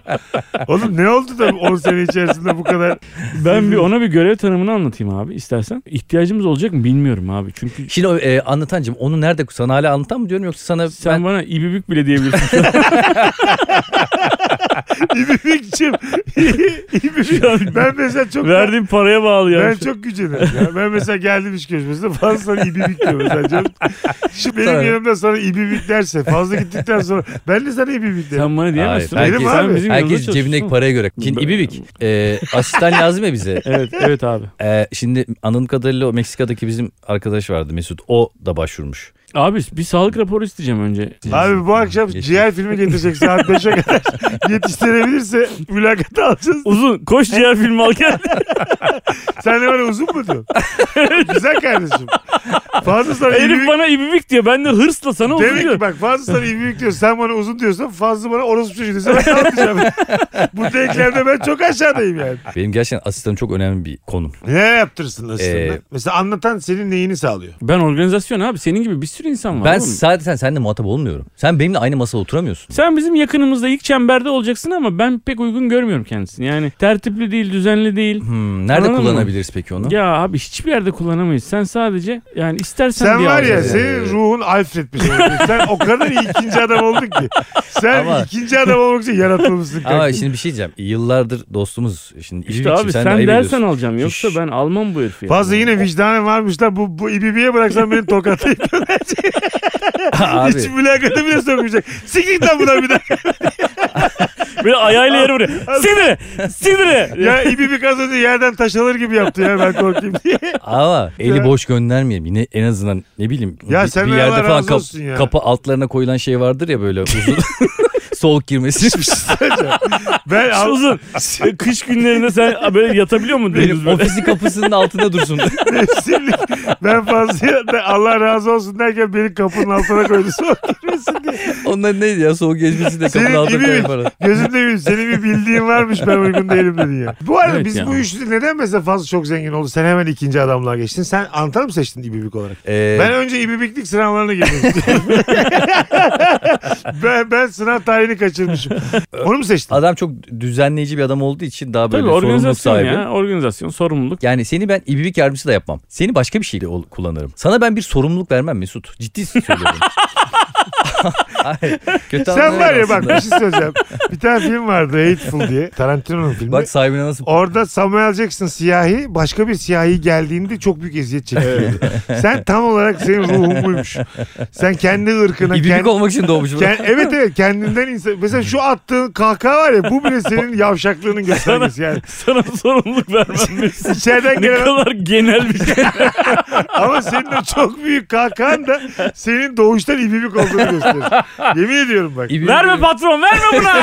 Speaker 2: Oğlum ne oldu da 10 sene içerisinde bu kadar
Speaker 3: ben bir ona bir görev tanımını anlatayım abi istersen. İhtiyacımız olacak mı bilmiyorum abi. Çünkü
Speaker 4: Şimdi o, e, anlatancım onu nerede sana hala anlatan mı diyorum yoksa sana
Speaker 3: Sen
Speaker 2: (laughs)
Speaker 4: ben
Speaker 3: bana ibibik bile diyebilirsin.
Speaker 2: İbibikçim İyi bir şey. Ben mesela çok...
Speaker 3: Verdiğim paraya bağlı ya.
Speaker 2: Ben çok gücenirim. Ya. Ben mesela geldim iş görüşmesinde fazla sana ibibik diyor mesela. Canım. Şimdi benim
Speaker 4: Tabii.
Speaker 2: yanımda sana ibibik derse fazla gittikten sonra ben de sana ibibik derim.
Speaker 3: Sen bana diyemezsin.
Speaker 4: Hayır,
Speaker 3: Sen
Speaker 2: herkes-
Speaker 3: bizim
Speaker 4: Herkes
Speaker 3: yanımızda
Speaker 4: cebindeki
Speaker 3: çalışıyorsun.
Speaker 4: paraya göre. Şimdi
Speaker 3: Ben-
Speaker 4: İbibik e, asistan lazım ya bize.
Speaker 3: Evet evet abi.
Speaker 4: E, şimdi anladığım kadarıyla o Meksika'daki bizim arkadaş vardı Mesut. O da başvurmuş.
Speaker 3: Abi bir sağlık raporu isteyeceğim önce.
Speaker 2: Abi bu akşam
Speaker 4: Geçti.
Speaker 2: ciğer filmi getirecek saat 5'e kadar. (laughs) Yetiştirebilirse mülakata alacağız.
Speaker 3: Uzun koş ciğer filmi al gel.
Speaker 2: Sen de böyle uzun mu
Speaker 3: (laughs)
Speaker 2: diyorsun? Güzel kardeşim. Fazla sana
Speaker 3: Herif
Speaker 2: ibibik...
Speaker 3: bana ibibik diyor. Ben de hırsla sana uzun
Speaker 2: Demek ki
Speaker 3: diyorum.
Speaker 2: bak fazla sana ibibik diyor. Sen bana uzun diyorsan fazla bana orospu çocuğu diyorsan ben ne
Speaker 4: (laughs)
Speaker 2: yapacağım? Bu denklemde ben çok aşağıdayım yani.
Speaker 4: Benim gerçekten asistanım çok önemli bir konum.
Speaker 2: Ne yaptırsın aslında?
Speaker 4: Ee,
Speaker 2: Mesela anlatan senin neyini sağlıyor?
Speaker 3: Ben organizasyon abi. Senin gibi bir sürü insan var.
Speaker 4: Ben
Speaker 3: oğlum.
Speaker 4: zaten seninle muhatap olmuyorum. Sen benimle aynı masada oturamıyorsun.
Speaker 3: Sen bizim yakınımızda ilk çemberde olacaksın ama ben pek uygun görmüyorum kendisini. Yani tertipli değil, düzenli değil.
Speaker 4: Hmm, nerede
Speaker 3: Anladın mı?
Speaker 4: kullanabiliriz peki onu?
Speaker 3: Ya abi hiçbir yerde kullanamayız. Sen sadece yani istersen
Speaker 2: Sen
Speaker 3: diye
Speaker 2: var ya
Speaker 3: alacaksın.
Speaker 2: senin
Speaker 4: Ee,
Speaker 2: ruhun Alfred bir şey. Sen o kadar iyi ikinci adam oldun ki. Sen
Speaker 4: Ama-
Speaker 2: ikinci adam olmak için yaratılmışsın. kanka.
Speaker 4: Ama şimdi bir şey diyeceğim. Yıllardır dostumuz. Şimdi
Speaker 3: İşte (laughs)
Speaker 4: İbibik'ciğim,
Speaker 3: abi sen,
Speaker 4: de ayıp
Speaker 3: dersen
Speaker 4: ediyorsun.
Speaker 3: alacağım. Yoksa
Speaker 4: Şş.
Speaker 3: ben almam bu herifi. ya.
Speaker 2: Fazla
Speaker 4: (laughs)
Speaker 2: yine vicdanı varmış da bu, bu İBB'ye bıraksan beni tokatlayıp (laughs) hiç
Speaker 4: Abi
Speaker 2: mülakatı bile sokmayacak. Sikik lan buna
Speaker 4: (laughs)
Speaker 2: bir de.
Speaker 3: (laughs) Böyle ayağıyla yere vuruyor. Sidire! Sidire!
Speaker 2: Ya İBB kazanınca yerden taş alır gibi yaptı ya ben korkayım diye.
Speaker 4: ama
Speaker 2: Ya.
Speaker 4: eli boş göndermeyeyim. Yine en azından ne bileyim.
Speaker 2: Ya
Speaker 4: bir,
Speaker 2: sen
Speaker 4: bir
Speaker 2: Allah
Speaker 4: yerde falan
Speaker 2: razı
Speaker 4: kap-
Speaker 2: olsun ya.
Speaker 4: kapı altlarına koyulan şey vardır ya
Speaker 2: (laughs)
Speaker 4: böyle uzun. soğuk
Speaker 2: şey
Speaker 4: girmesi.
Speaker 2: Ben al-
Speaker 3: Uzun. Kış günlerinde sen böyle yatabiliyor musun? dümdüz
Speaker 4: (laughs) Benim
Speaker 3: böyle?
Speaker 4: ofisin kapısının
Speaker 2: (laughs)
Speaker 4: altında dursun.
Speaker 2: Şimdi ben fazla ben Allah razı olsun derken beni kapının altına koydu. Soğuk girmesin diye.
Speaker 4: Onlar neydi ya soğuk geçmesi de kapının
Speaker 2: Senin
Speaker 4: altına
Speaker 2: gibi
Speaker 4: koyar
Speaker 2: bir,
Speaker 4: falan.
Speaker 2: gözümde bir, senin bir bildiğin varmış ben uygun değilim dedi ya. Bu arada
Speaker 3: Evet
Speaker 2: biz
Speaker 3: ya.
Speaker 2: bu üçlü neden mesela fazla çok zengin oldu? Sen hemen ikinci adamlığa geçtin. Sen Antalya mı seçtin İbibik olarak?
Speaker 4: Ee,
Speaker 2: Ben önce İbibiklik sınavlarına girdim. (laughs) ben, ben sınav tarihini kaçırmışım. Onu mu seçtin?
Speaker 4: Adam çok düzenleyici bir adam olduğu için daha böyle
Speaker 3: Tabii
Speaker 4: sorumluluk
Speaker 3: organizasyon
Speaker 4: sahibi.
Speaker 3: ya. Organizasyon, sorumluluk.
Speaker 4: Yani seni ben ibibik yardımcısı da yapmam. Seni başka bir şeyle ol- kullanırım. Sana ben bir sorumluluk vermem Mesut.
Speaker 2: (laughs)
Speaker 4: Ciddi söylüyorum. Hayır, kötü
Speaker 2: Sen var
Speaker 4: anlamıyorum
Speaker 2: ya bak
Speaker 4: aslında.
Speaker 2: bir şey söyleyeceğim. Bir tane film vardı Hateful diye. Tarantino'nun filmi.
Speaker 4: Bak sahibine nasıl...
Speaker 2: Orada Samuel Jackson siyahi başka bir siyahi geldiğinde çok büyük eziyet çekiyordu. Sen tam olarak senin ruhun buymuş. Sen kendi ırkına,
Speaker 4: İbibik
Speaker 2: kendi
Speaker 4: olmak için doğmuş. bu.
Speaker 2: Ken- evet evet kendinden insan. Mesela şu attığın kahkaha var ya bu bile senin yavşaklığının göstergesi
Speaker 3: (laughs)
Speaker 2: yani.
Speaker 3: (laughs) Sana sorumluluk vermem Mesut.
Speaker 2: İçeriden
Speaker 3: ne
Speaker 2: gelen
Speaker 3: kadar genel bir şey.
Speaker 2: ama senin o çok büyük kahkahan da senin doğuştan ibibik olduğunu gösterir. Yemin ediyorum bak.
Speaker 4: İbibik-
Speaker 3: verme patron verme buna.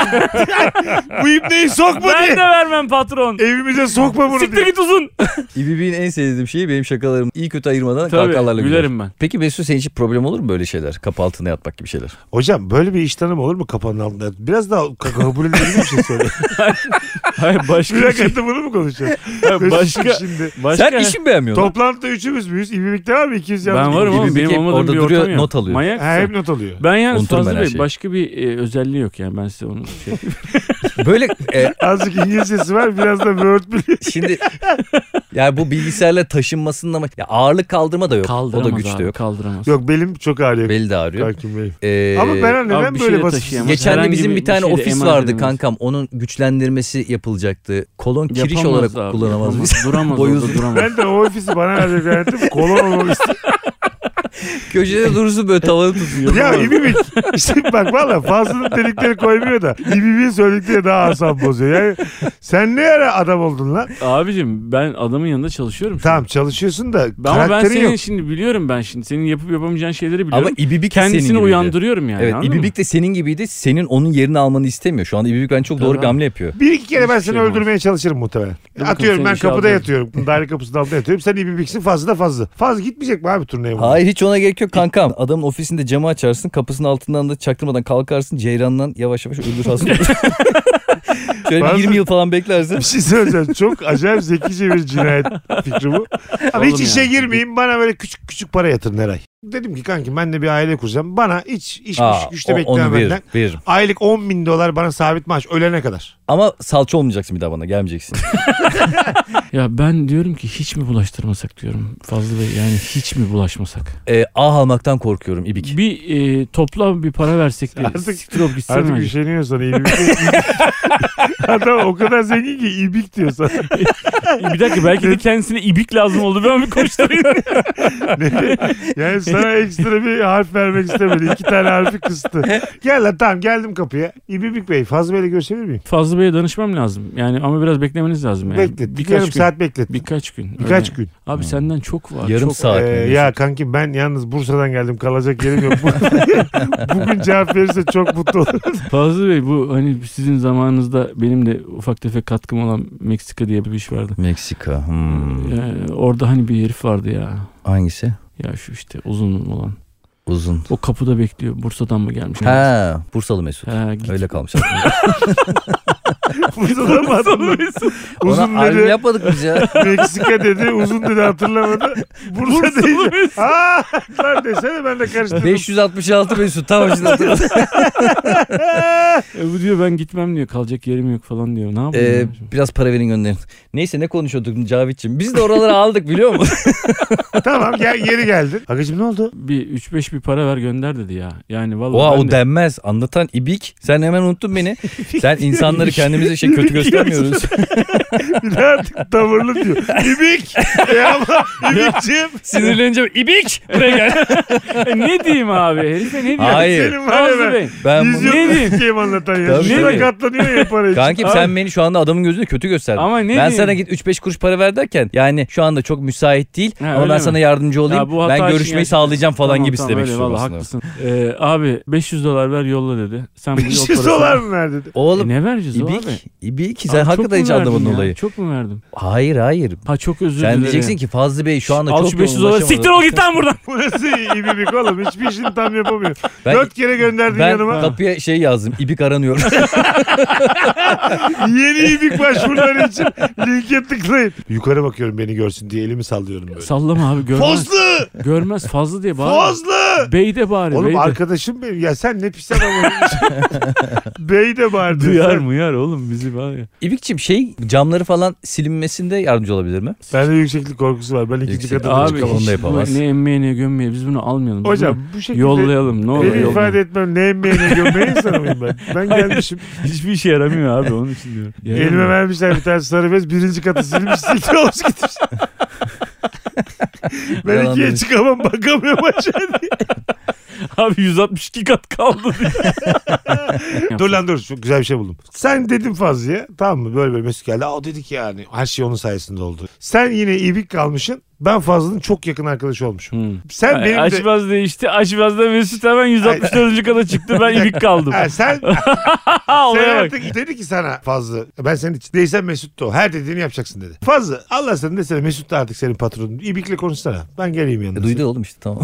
Speaker 2: (laughs) Bu ibneyi sokma
Speaker 3: ben de
Speaker 2: diye.
Speaker 3: vermem patron.
Speaker 2: Evimize sokma bunu
Speaker 3: Siktir
Speaker 2: diye.
Speaker 3: git uzun.
Speaker 4: İbibik'in en sevdiğim şeyi benim şakalarım. iyi kötü ayırmadan
Speaker 3: Tabii
Speaker 4: kahkahalarla gülerim.
Speaker 3: gülerim ben.
Speaker 4: Peki Mesut senin için problem olur mu böyle şeyler? Kapı altında yatmak gibi şeyler.
Speaker 2: Hocam böyle bir iş tanımı olur mu kapanın altında? Biraz daha kabul edilebilir bir (laughs) şey söyle.
Speaker 3: (laughs) Hayır başka bir şey.
Speaker 2: Mülakatta bunu mu konuşacağız? (laughs)
Speaker 3: Hayır,
Speaker 2: Başka.
Speaker 3: Başka.
Speaker 2: Şimdi.
Speaker 3: Başka.
Speaker 4: Sen işin beğenmiyorsun.
Speaker 2: Toplantıda üçümüz müyüz? İbibik'te var mı? 200 yalnız.
Speaker 3: ben varım
Speaker 2: İbibik.
Speaker 3: ama
Speaker 4: İbibik
Speaker 3: benim
Speaker 4: hep
Speaker 3: olmadığım
Speaker 4: orada
Speaker 3: bir
Speaker 4: duruyor,
Speaker 3: ortam yok.
Speaker 4: not alıyor.
Speaker 3: Manyak
Speaker 2: Ha, hep
Speaker 3: mısın?
Speaker 2: not alıyor.
Speaker 3: Ben yalnız
Speaker 4: Unuturum ben
Speaker 3: Fazlı
Speaker 4: her
Speaker 3: Bey
Speaker 4: şeyi.
Speaker 3: başka bir e, özelliği yok yani ben size onu şey
Speaker 4: Böyle e,
Speaker 2: Azıcık İngilizcesi var biraz da Word biliyor.
Speaker 4: Şimdi yani bu bilgisayarla taşınmasının ama ya ağırlık kaldırma da yok. O
Speaker 3: kaldıramaz
Speaker 4: da güç
Speaker 3: abi,
Speaker 4: de yok.
Speaker 3: kaldıramaz.
Speaker 2: Yok belim çok ağrıyor.
Speaker 4: Beli de ağrıyor.
Speaker 2: Hakim Bey.
Speaker 4: Ee,
Speaker 2: Ama ben hani
Speaker 3: abi
Speaker 2: neden
Speaker 3: bir
Speaker 2: böyle
Speaker 3: şeyle
Speaker 2: basit?
Speaker 3: taşıyamaz.
Speaker 4: Geçen de
Speaker 3: herhangi
Speaker 4: bizim
Speaker 3: bir-
Speaker 4: bir tane
Speaker 3: bir şeyle
Speaker 4: ofis
Speaker 3: emanet
Speaker 4: vardı
Speaker 3: edemez.
Speaker 4: kankam. Onun güçlendirmesi yapılacaktı. Kolon kiriş
Speaker 3: Yapamaz
Speaker 4: olarak
Speaker 3: abi,
Speaker 4: kullanamaz.
Speaker 3: yapamaz.
Speaker 4: biz.
Speaker 3: Duramaz
Speaker 4: Boyu
Speaker 3: orada
Speaker 4: uzun.
Speaker 3: duramaz.
Speaker 2: Ben de o ofisi bana verecek hayatım kolon olmamı
Speaker 4: (laughs) Köşede durursun böyle tavanı
Speaker 2: (laughs)
Speaker 4: tutuyor.
Speaker 2: Ya İbibik. İşte bak valla fazlanın delikleri koymuyor da İbibik'in söyledikleri daha asam bozuyor. Yani sen ne ara adam oldun lan?
Speaker 3: Abicim ben adamın yanında çalışıyorum. şu an.
Speaker 2: Tamam çalışıyorsun da
Speaker 3: Ben- Ama ben
Speaker 2: karakterin
Speaker 3: senin
Speaker 2: yok.
Speaker 3: şimdi biliyorum ben şimdi senin yapıp yapamayacağın şeyleri biliyorum.
Speaker 4: Ama İbibik de senin
Speaker 3: Kendisini
Speaker 4: gibiydi.
Speaker 3: uyandırıyorum yani.
Speaker 4: Evet
Speaker 3: anladın mı?
Speaker 4: İbibik de senin gibiydi. Senin onun yerini almanı istemiyor. Şu anda İbibik ben çok
Speaker 3: Tabii
Speaker 4: doğru
Speaker 3: abi.
Speaker 4: hamle yapıyor.
Speaker 2: Bir iki kere ben
Speaker 3: Hiçbir
Speaker 2: seni
Speaker 3: şey olmaz.
Speaker 2: öldürmeye çalışırım muhtemelen.
Speaker 3: bakalım
Speaker 2: Atıyorum
Speaker 3: seni
Speaker 2: ben
Speaker 3: inşallah
Speaker 2: kapıda
Speaker 3: alırım.
Speaker 2: yatıyorum. Daire kapısının altında yatıyorum. Sen İbibik'sin fazla da fazla. Fazla gitmeyecek mi abi turneye? bunlar?
Speaker 4: Hayır hiç ona gerek yok kankam. Adamın ofisinde camı açarsın. Kapısının altından da çaktırmadan kalkarsın. Ceyrandan yavaş yavaş öldür hastayı. Şöyle bir
Speaker 2: Bazen-
Speaker 4: 20 yıl falan beklersin.
Speaker 2: Bir şey söyleyeceğim. Çok acayip zekice bir cinayet fikri bu. Abi hiç
Speaker 3: Oğlum
Speaker 2: işe
Speaker 3: yani.
Speaker 2: girmeyeyim. Bana böyle küçük küçük para yatırın her ay. Dedim ki kanki ben de bir aile kuracağım. Bana hiç iş
Speaker 4: Aa,
Speaker 2: güç güçte
Speaker 4: o-
Speaker 2: beklemem
Speaker 4: onu
Speaker 2: benden.
Speaker 4: veririm, veririm.
Speaker 2: Aylık 10 bin dolar bana sabit maaş ölene kadar.
Speaker 4: Ama salça olmayacaksın bir daha bana gelmeyeceksin.
Speaker 3: Ya ben diyorum ki hiç mi bulaştırmasak diyorum Fazlı Bey yani hiç mi bulaşmasak?
Speaker 4: ee, ah almaktan korkuyorum ibik.
Speaker 3: Bir e, topla bir para versek de
Speaker 2: Artık-
Speaker 3: siktir olup gitsen
Speaker 2: Artık
Speaker 3: bence.
Speaker 2: üşeniyorsan ibik. (laughs)
Speaker 3: (laughs)
Speaker 2: Adam o kadar zengin ki ibik diyorsan.
Speaker 3: Bir dakika belki
Speaker 2: (laughs)
Speaker 3: de kendisine ibik lazım oldu ben bir koşturayım.
Speaker 2: Yani sana ekstra bir harf vermek istemedi. İki tane harfi kıstı. Gel lan tamam geldim kapıya. İbibik Bey Fazıl Bey'le görüşebilir miyim?
Speaker 3: Fazlı Bey'e danışmam lazım yani ama biraz beklemeniz lazım yani.
Speaker 2: beklet.
Speaker 3: Birkaç
Speaker 2: yarım
Speaker 3: gün.
Speaker 2: saat beklet.
Speaker 3: Birkaç gün.
Speaker 2: Birkaç
Speaker 3: Öyle.
Speaker 2: gün.
Speaker 3: Abi senden çok var.
Speaker 4: Hmm. Yarım
Speaker 3: çok
Speaker 4: saat. mi
Speaker 2: Ee,
Speaker 4: diyorsun?
Speaker 2: ya kanki ben yalnız Bursa'dan geldim. Kalacak yerim yok. (laughs) Bugün cevap verirse çok mutlu
Speaker 3: (laughs)
Speaker 2: olurum.
Speaker 3: Fazlı Bey bu hani sizin zamanınızda benim de ufak tefek katkım olan Meksika diye bir iş vardı.
Speaker 4: Meksika. hmm.
Speaker 3: Ee, orada hani bir herif vardı ya.
Speaker 4: Hangisi?
Speaker 3: Ya şu işte uzun olan.
Speaker 4: Uzun.
Speaker 3: O kapıda bekliyor. Bursa'dan mı gelmiş?
Speaker 4: Ha, Bursalı Mesut.
Speaker 3: Ha, git.
Speaker 4: Öyle kalmış.
Speaker 2: Bursa'dan mı adamlar? Uzun
Speaker 4: Ona albüm
Speaker 2: dedi.
Speaker 4: yapmadık biz ya.
Speaker 2: Meksika dedi. Uzun dedi hatırlamadı. Bursa deyince. Aa, lan desene ben de karıştırdım.
Speaker 4: 566 Mesut. Tamam
Speaker 3: (laughs)
Speaker 4: şimdi hatırladım.
Speaker 3: E, bu diyor ben gitmem diyor. Kalacak yerim yok falan diyor. Ne yapayım?
Speaker 4: Ee,
Speaker 3: ben şimdi?
Speaker 4: biraz para verin gönderin. Neyse ne konuşuyorduk Cavit'ciğim. Biz de oraları aldık biliyor musun?
Speaker 2: tamam gel, geri geldin. Agacım ne oldu?
Speaker 3: Bir 3-5 bir para ver gönder dedi ya. Yani vallahi
Speaker 4: Oha
Speaker 3: ben
Speaker 4: o
Speaker 3: de,
Speaker 4: denmez. Anlatan ibik. Sen hemen unuttun beni. Sen insanları kendimize şey kötü göstermiyoruz.
Speaker 3: (laughs)
Speaker 2: Bir de artık tavırlı
Speaker 4: (laughs)
Speaker 2: diyor. İbik. E ama İbik'ciğim.
Speaker 4: Sinirlenince ibik buraya gel.
Speaker 3: (laughs) E, ne diyeyim abi? Herife ne diyeyim?
Speaker 4: Hayır.
Speaker 2: Senin var ya
Speaker 3: Fazlı
Speaker 2: ben.
Speaker 3: Bey.
Speaker 4: Ben
Speaker 2: Yüz
Speaker 4: bunu...
Speaker 2: yıl
Speaker 3: Ne
Speaker 2: (laughs)
Speaker 3: diyeyim?
Speaker 2: sikeyim anlatan ya.
Speaker 4: Tabii.
Speaker 2: Şuna
Speaker 3: Tabii.
Speaker 2: katlanıyor ya para için.
Speaker 4: Kankim sen beni şu anda adamın gözünde kötü gösterdin.
Speaker 3: Ama ne
Speaker 4: ben
Speaker 3: diyeyim?
Speaker 4: sana git 3-5 kuruş para ver derken yani şu anda çok müsait değil
Speaker 3: Ha,
Speaker 4: ama
Speaker 3: öyle
Speaker 4: ben
Speaker 3: mi?
Speaker 4: sana yardımcı olayım.
Speaker 3: Ya bu hata
Speaker 4: ben
Speaker 3: için
Speaker 4: görüşmeyi
Speaker 3: gerçekten-
Speaker 4: sağlayacağım falan
Speaker 3: Tamam,
Speaker 4: gibisi şey
Speaker 3: tamam,
Speaker 4: demek
Speaker 3: öyle,
Speaker 4: istiyorum
Speaker 3: vallahi
Speaker 4: aslında.
Speaker 3: haklısın. Ee, abi 500 dolar ver yolla dedi. Sen bu yol
Speaker 2: 500
Speaker 3: parasını-
Speaker 2: dolar mı verdi?
Speaker 3: E,
Speaker 4: Oğlum
Speaker 3: ne vereceğiz o abi?
Speaker 4: ibik, ibik sen
Speaker 3: Abi, çok
Speaker 4: hakikaten
Speaker 3: mu
Speaker 4: hiç
Speaker 3: verdim
Speaker 4: anlamadın
Speaker 3: ya?
Speaker 4: olayı.
Speaker 3: Çok mu verdim?
Speaker 4: Hayır hayır.
Speaker 3: Ha çok özür dilerim.
Speaker 4: Sen diyeceksin ki Fazlı Bey şu anda
Speaker 3: Al
Speaker 4: çok
Speaker 3: şu 500
Speaker 4: yoğunlaşamadı.
Speaker 3: dolar siktir ol git lan buradan.
Speaker 2: Bu nasıl ibibik oğlum? Hiçbir işini tam yapamıyor.
Speaker 4: Ben-
Speaker 2: Dört kere gönderdin
Speaker 4: Ben
Speaker 2: yanıma.
Speaker 4: kapıya şey yazdım.
Speaker 3: (laughs)
Speaker 4: ibik aranıyor.
Speaker 2: Yeni ibik başvuruları için linke tıklayın. Yukarı bakıyorum beni görsün diye elimi sallıyorum böyle.
Speaker 3: Sallama abi görmez.
Speaker 2: Fozlu!
Speaker 3: Görmez fazla diye bağır.
Speaker 2: Fozlu!
Speaker 3: Bey de bağır.
Speaker 2: Oğlum
Speaker 3: bey de.
Speaker 2: arkadaşım benim. Ya sen ne pis adamın. (laughs) Bey de bağırdı.
Speaker 3: (laughs) Duyar muyar oğlum bizi var ya.
Speaker 4: (laughs) İbikçim şey camları falan silinmesinde yardımcı olabilir mi? E,
Speaker 2: Bende yükseklik korkusu var. Ben ikinci
Speaker 4: Yüksek-
Speaker 2: kata da
Speaker 4: Abi,
Speaker 2: çıkamam.
Speaker 4: Onu da yapamaz.
Speaker 3: Ne emmeye ne gömmeye biz bunu almayalım. Biz
Speaker 2: Hocam
Speaker 3: bunu
Speaker 2: bu şekilde
Speaker 3: yollayalım ne olur
Speaker 2: beni
Speaker 3: yollayalım.
Speaker 2: ifade etmem. Ne emmeye ne gömmeye insanı mıyım ben? Ben
Speaker 3: Hayır.
Speaker 2: gelmişim.
Speaker 3: Hiçbir işe yaramıyor abi onun için diyorum.
Speaker 2: Elime vermişler bir tane sarı bez. Birinci katı silmiş. Sikti olmuş (laughs)
Speaker 3: (laughs)
Speaker 2: gitmiş. ben
Speaker 4: Yalan
Speaker 2: ikiye
Speaker 4: demiş.
Speaker 2: çıkamam
Speaker 3: (laughs)
Speaker 2: bakamıyorum aşağıya.
Speaker 3: Abi 162 kat kaldı diye.
Speaker 2: dur lan dur çok güzel bir şey buldum. Sen dedim Fazlı'ya tamam mı böyle böyle Mesut geldi. Aa dedik yani her şey onun sayesinde oldu. Sen yine ibik kalmışsın. Ben Fazlı'nın çok yakın arkadaşı olmuşum.
Speaker 3: Hmm.
Speaker 2: Sen benim de...
Speaker 3: Açmaz değişti. Açmaz da Mesut hemen 164. kata (laughs) çıktı. Ben ibik kaldım.
Speaker 2: Ha,
Speaker 3: (laughs)
Speaker 2: sen,
Speaker 3: Ha,
Speaker 2: sen
Speaker 3: olaya bak.
Speaker 2: artık dedi ki sana Fazlı ben senin hiç değilsen Mesut da o. Her dediğini yapacaksın dedi. Fazlı Allah seni desene Mesut da artık senin patronun. İbik'le konuşsana. Ben geleyim yanına.
Speaker 4: E, duydu oğlum işte tamam.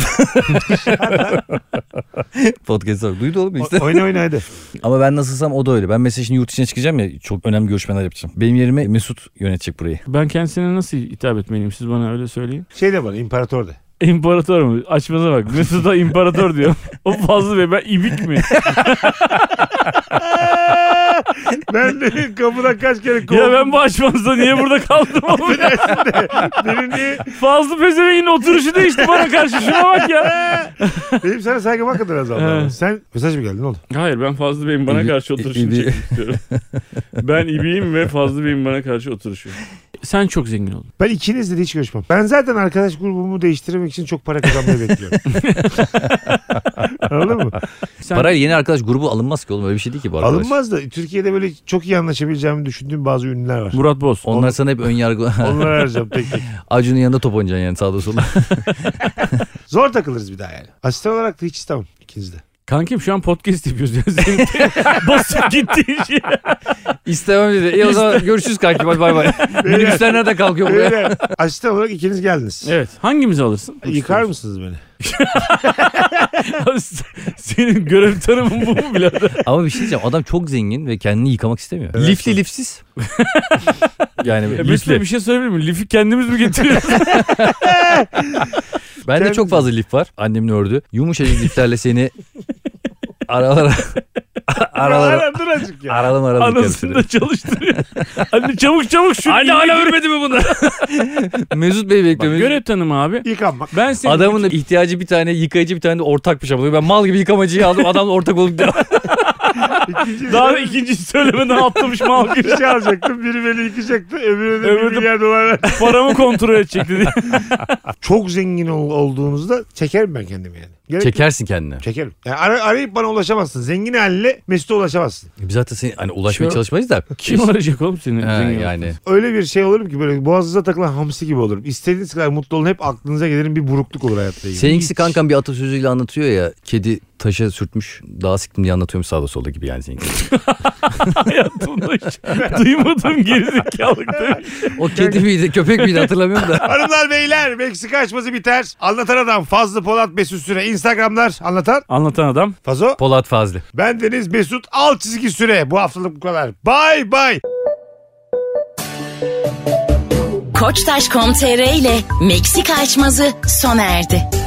Speaker 4: Podcast'ı duydu oğlum işte.
Speaker 2: O- oyna oyna hadi.
Speaker 4: Ama ben nasılsam o da öyle. Ben mesela şimdi yurt dışına çıkacağım ya çok önemli görüşmeler yapacağım. Benim yerime Mesut yönetecek burayı.
Speaker 3: Ben kendisine nasıl hitap etmeliyim? Siz bana öyle söyleyin.
Speaker 2: Şey de bana imparator de.
Speaker 3: İmparator mu? Açmaza bak. Mesut'a imparator (laughs) diyor. O fazla be. Ben ibik (laughs) mi?
Speaker 2: ben de kapıdan kaç kere kovdum.
Speaker 3: ya ben bu açmazda niye burada kaldım oğlum ya?
Speaker 2: Benim, niye-
Speaker 3: Fazlı Pezevenk'in oturuşu değişti bana karşı. Şuna bak ya.
Speaker 2: benim sana saygım hakikaten azaldı.
Speaker 3: He.
Speaker 2: Sen mesaj mı geldi ne oldu?
Speaker 3: Hayır ben Fazlı Bey'in bana
Speaker 4: İbi-
Speaker 3: karşı oturuşunu
Speaker 4: İbi-
Speaker 3: çekmek istiyorum. ben ibiyim ve Fazlı Bey'in bana karşı oturuşu. Sen çok zengin oldun.
Speaker 2: Ben ikinizle de hiç görüşmem. Ben zaten arkadaş grubumu değiştirmek için çok para kazanmayı bekliyorum. Anladın mı?
Speaker 3: Sen
Speaker 4: Parayla yeni arkadaş grubu alınmaz ki oğlum öyle bir şey değil ki bu arkadaş.
Speaker 2: Alınmaz da Türkiye'de böyle çok iyi anlaşabileceğimi düşündüğüm bazı ünlüler var.
Speaker 3: Murat Boz.
Speaker 4: Onlar sana hep ön yargı. (laughs)
Speaker 2: Onları arayacağım tek tek.
Speaker 4: Acun'un yanında top oynayacaksın yani sağda solda.
Speaker 2: Zor takılırız bir daha yani. Asistan olarak da hiç istemem ikiniz de.
Speaker 3: Kankim şu an podcast yapıyoruz. (laughs) ya. Senin basıp gittiğin şey.
Speaker 4: (laughs) İstemem dedi. İyi o zaman görüşürüz kanki
Speaker 3: (laughs)
Speaker 4: bay bay bay. Minibüsler nerede kalkıyor buraya?
Speaker 2: Öyle. Asistan olarak ikiniz geldiniz.
Speaker 3: Evet. Hangimizi alırsın?
Speaker 2: E,
Speaker 3: (laughs)
Speaker 2: Yıkar mısınız beni?
Speaker 3: Abi s- Senin görev tanımın bu mu birader?
Speaker 4: Ama bir şey diyeceğim adam çok zengin ve kendini yıkamak istemiyor.
Speaker 2: Evet.
Speaker 3: (laughs)
Speaker 4: Lifli lifsiz. yani
Speaker 3: Mesela
Speaker 4: lifli.
Speaker 3: bir şey söyleyebilir miyim? Lifi kendimiz mi getiriyoruz?
Speaker 4: Bende
Speaker 2: Kendisi.
Speaker 4: çok fazla lif var. Annemin ördü. Yumuşacık liflerle seni (laughs) aralara (laughs) aralara
Speaker 2: Dur azıcık ya.
Speaker 4: aralım aralım
Speaker 3: Anasını da çalıştırıyor. Anne çabuk çabuk şu.
Speaker 4: Anne hala örmedi mi bunu? (laughs) Mesut Bey
Speaker 3: Bak,
Speaker 4: bekliyor. Mesut-
Speaker 3: görev tanımı abi.
Speaker 2: Yıkanmak.
Speaker 3: Ben seni
Speaker 4: Adamın da ihtiyacı bir tane yıkayıcı bir tane de ortakmış ama ben mal gibi yıkamacıyı aldım adamla
Speaker 3: (laughs)
Speaker 4: ortak olduk diye.
Speaker 2: İkinci
Speaker 3: daha ikinci söylemeden atlamış mal gibi. (laughs)
Speaker 2: bir şey alacaktım. Biri beni yıkacaktı. Öbürüne de bir
Speaker 3: Öbürü de-
Speaker 2: milyar dolar verdim.
Speaker 3: Paramı kontrol edecek dedi.
Speaker 2: Çok zengin ol- olduğunuzda çekerim ben kendimi yani. Gerek
Speaker 4: Çekersin kendine.
Speaker 2: Çekerim. Yani ara- arayıp bana ulaşamazsın. Zengin haline Mesut'a ulaşamazsın.
Speaker 4: Biz zaten seni hani ulaşmaya
Speaker 3: Şu-
Speaker 4: çalışmayız da.
Speaker 3: Kim arayacak oğlum seni?
Speaker 4: Ha,
Speaker 3: zengin
Speaker 4: yani.
Speaker 2: Öyle bir şey olurum ki böyle boğazınıza takılan hamsi gibi olurum. İstediğiniz kadar mutlu olun hep aklınıza gelirim bir burukluk olur hayatta. ilgili.
Speaker 4: Seninkisi kankam bir atasözüyle anlatıyor ya. Kedi taşa sürtmüş. Daha siktim diye anlatıyorum sağda solda gibi yani seninkisi.
Speaker 3: Hayatımda hiç duymadığım gerizekalık demek.
Speaker 4: O kedi miydi köpek miydi hatırlamıyorum da.
Speaker 2: (laughs) Hanımlar beyler Meksika açması biter. Anlatan adam Fazlı Polat Mesut Süre. Instagramlar anlatan
Speaker 3: Anlatan adam.
Speaker 2: Fazo.
Speaker 4: Polat Fazlı.
Speaker 2: Ben Deniz Mesut alt çizgi süre. Bu haftalık bu kadar. Bay bay.
Speaker 1: Koçtaş.com.tr ile Meksika açmazı sona erdi.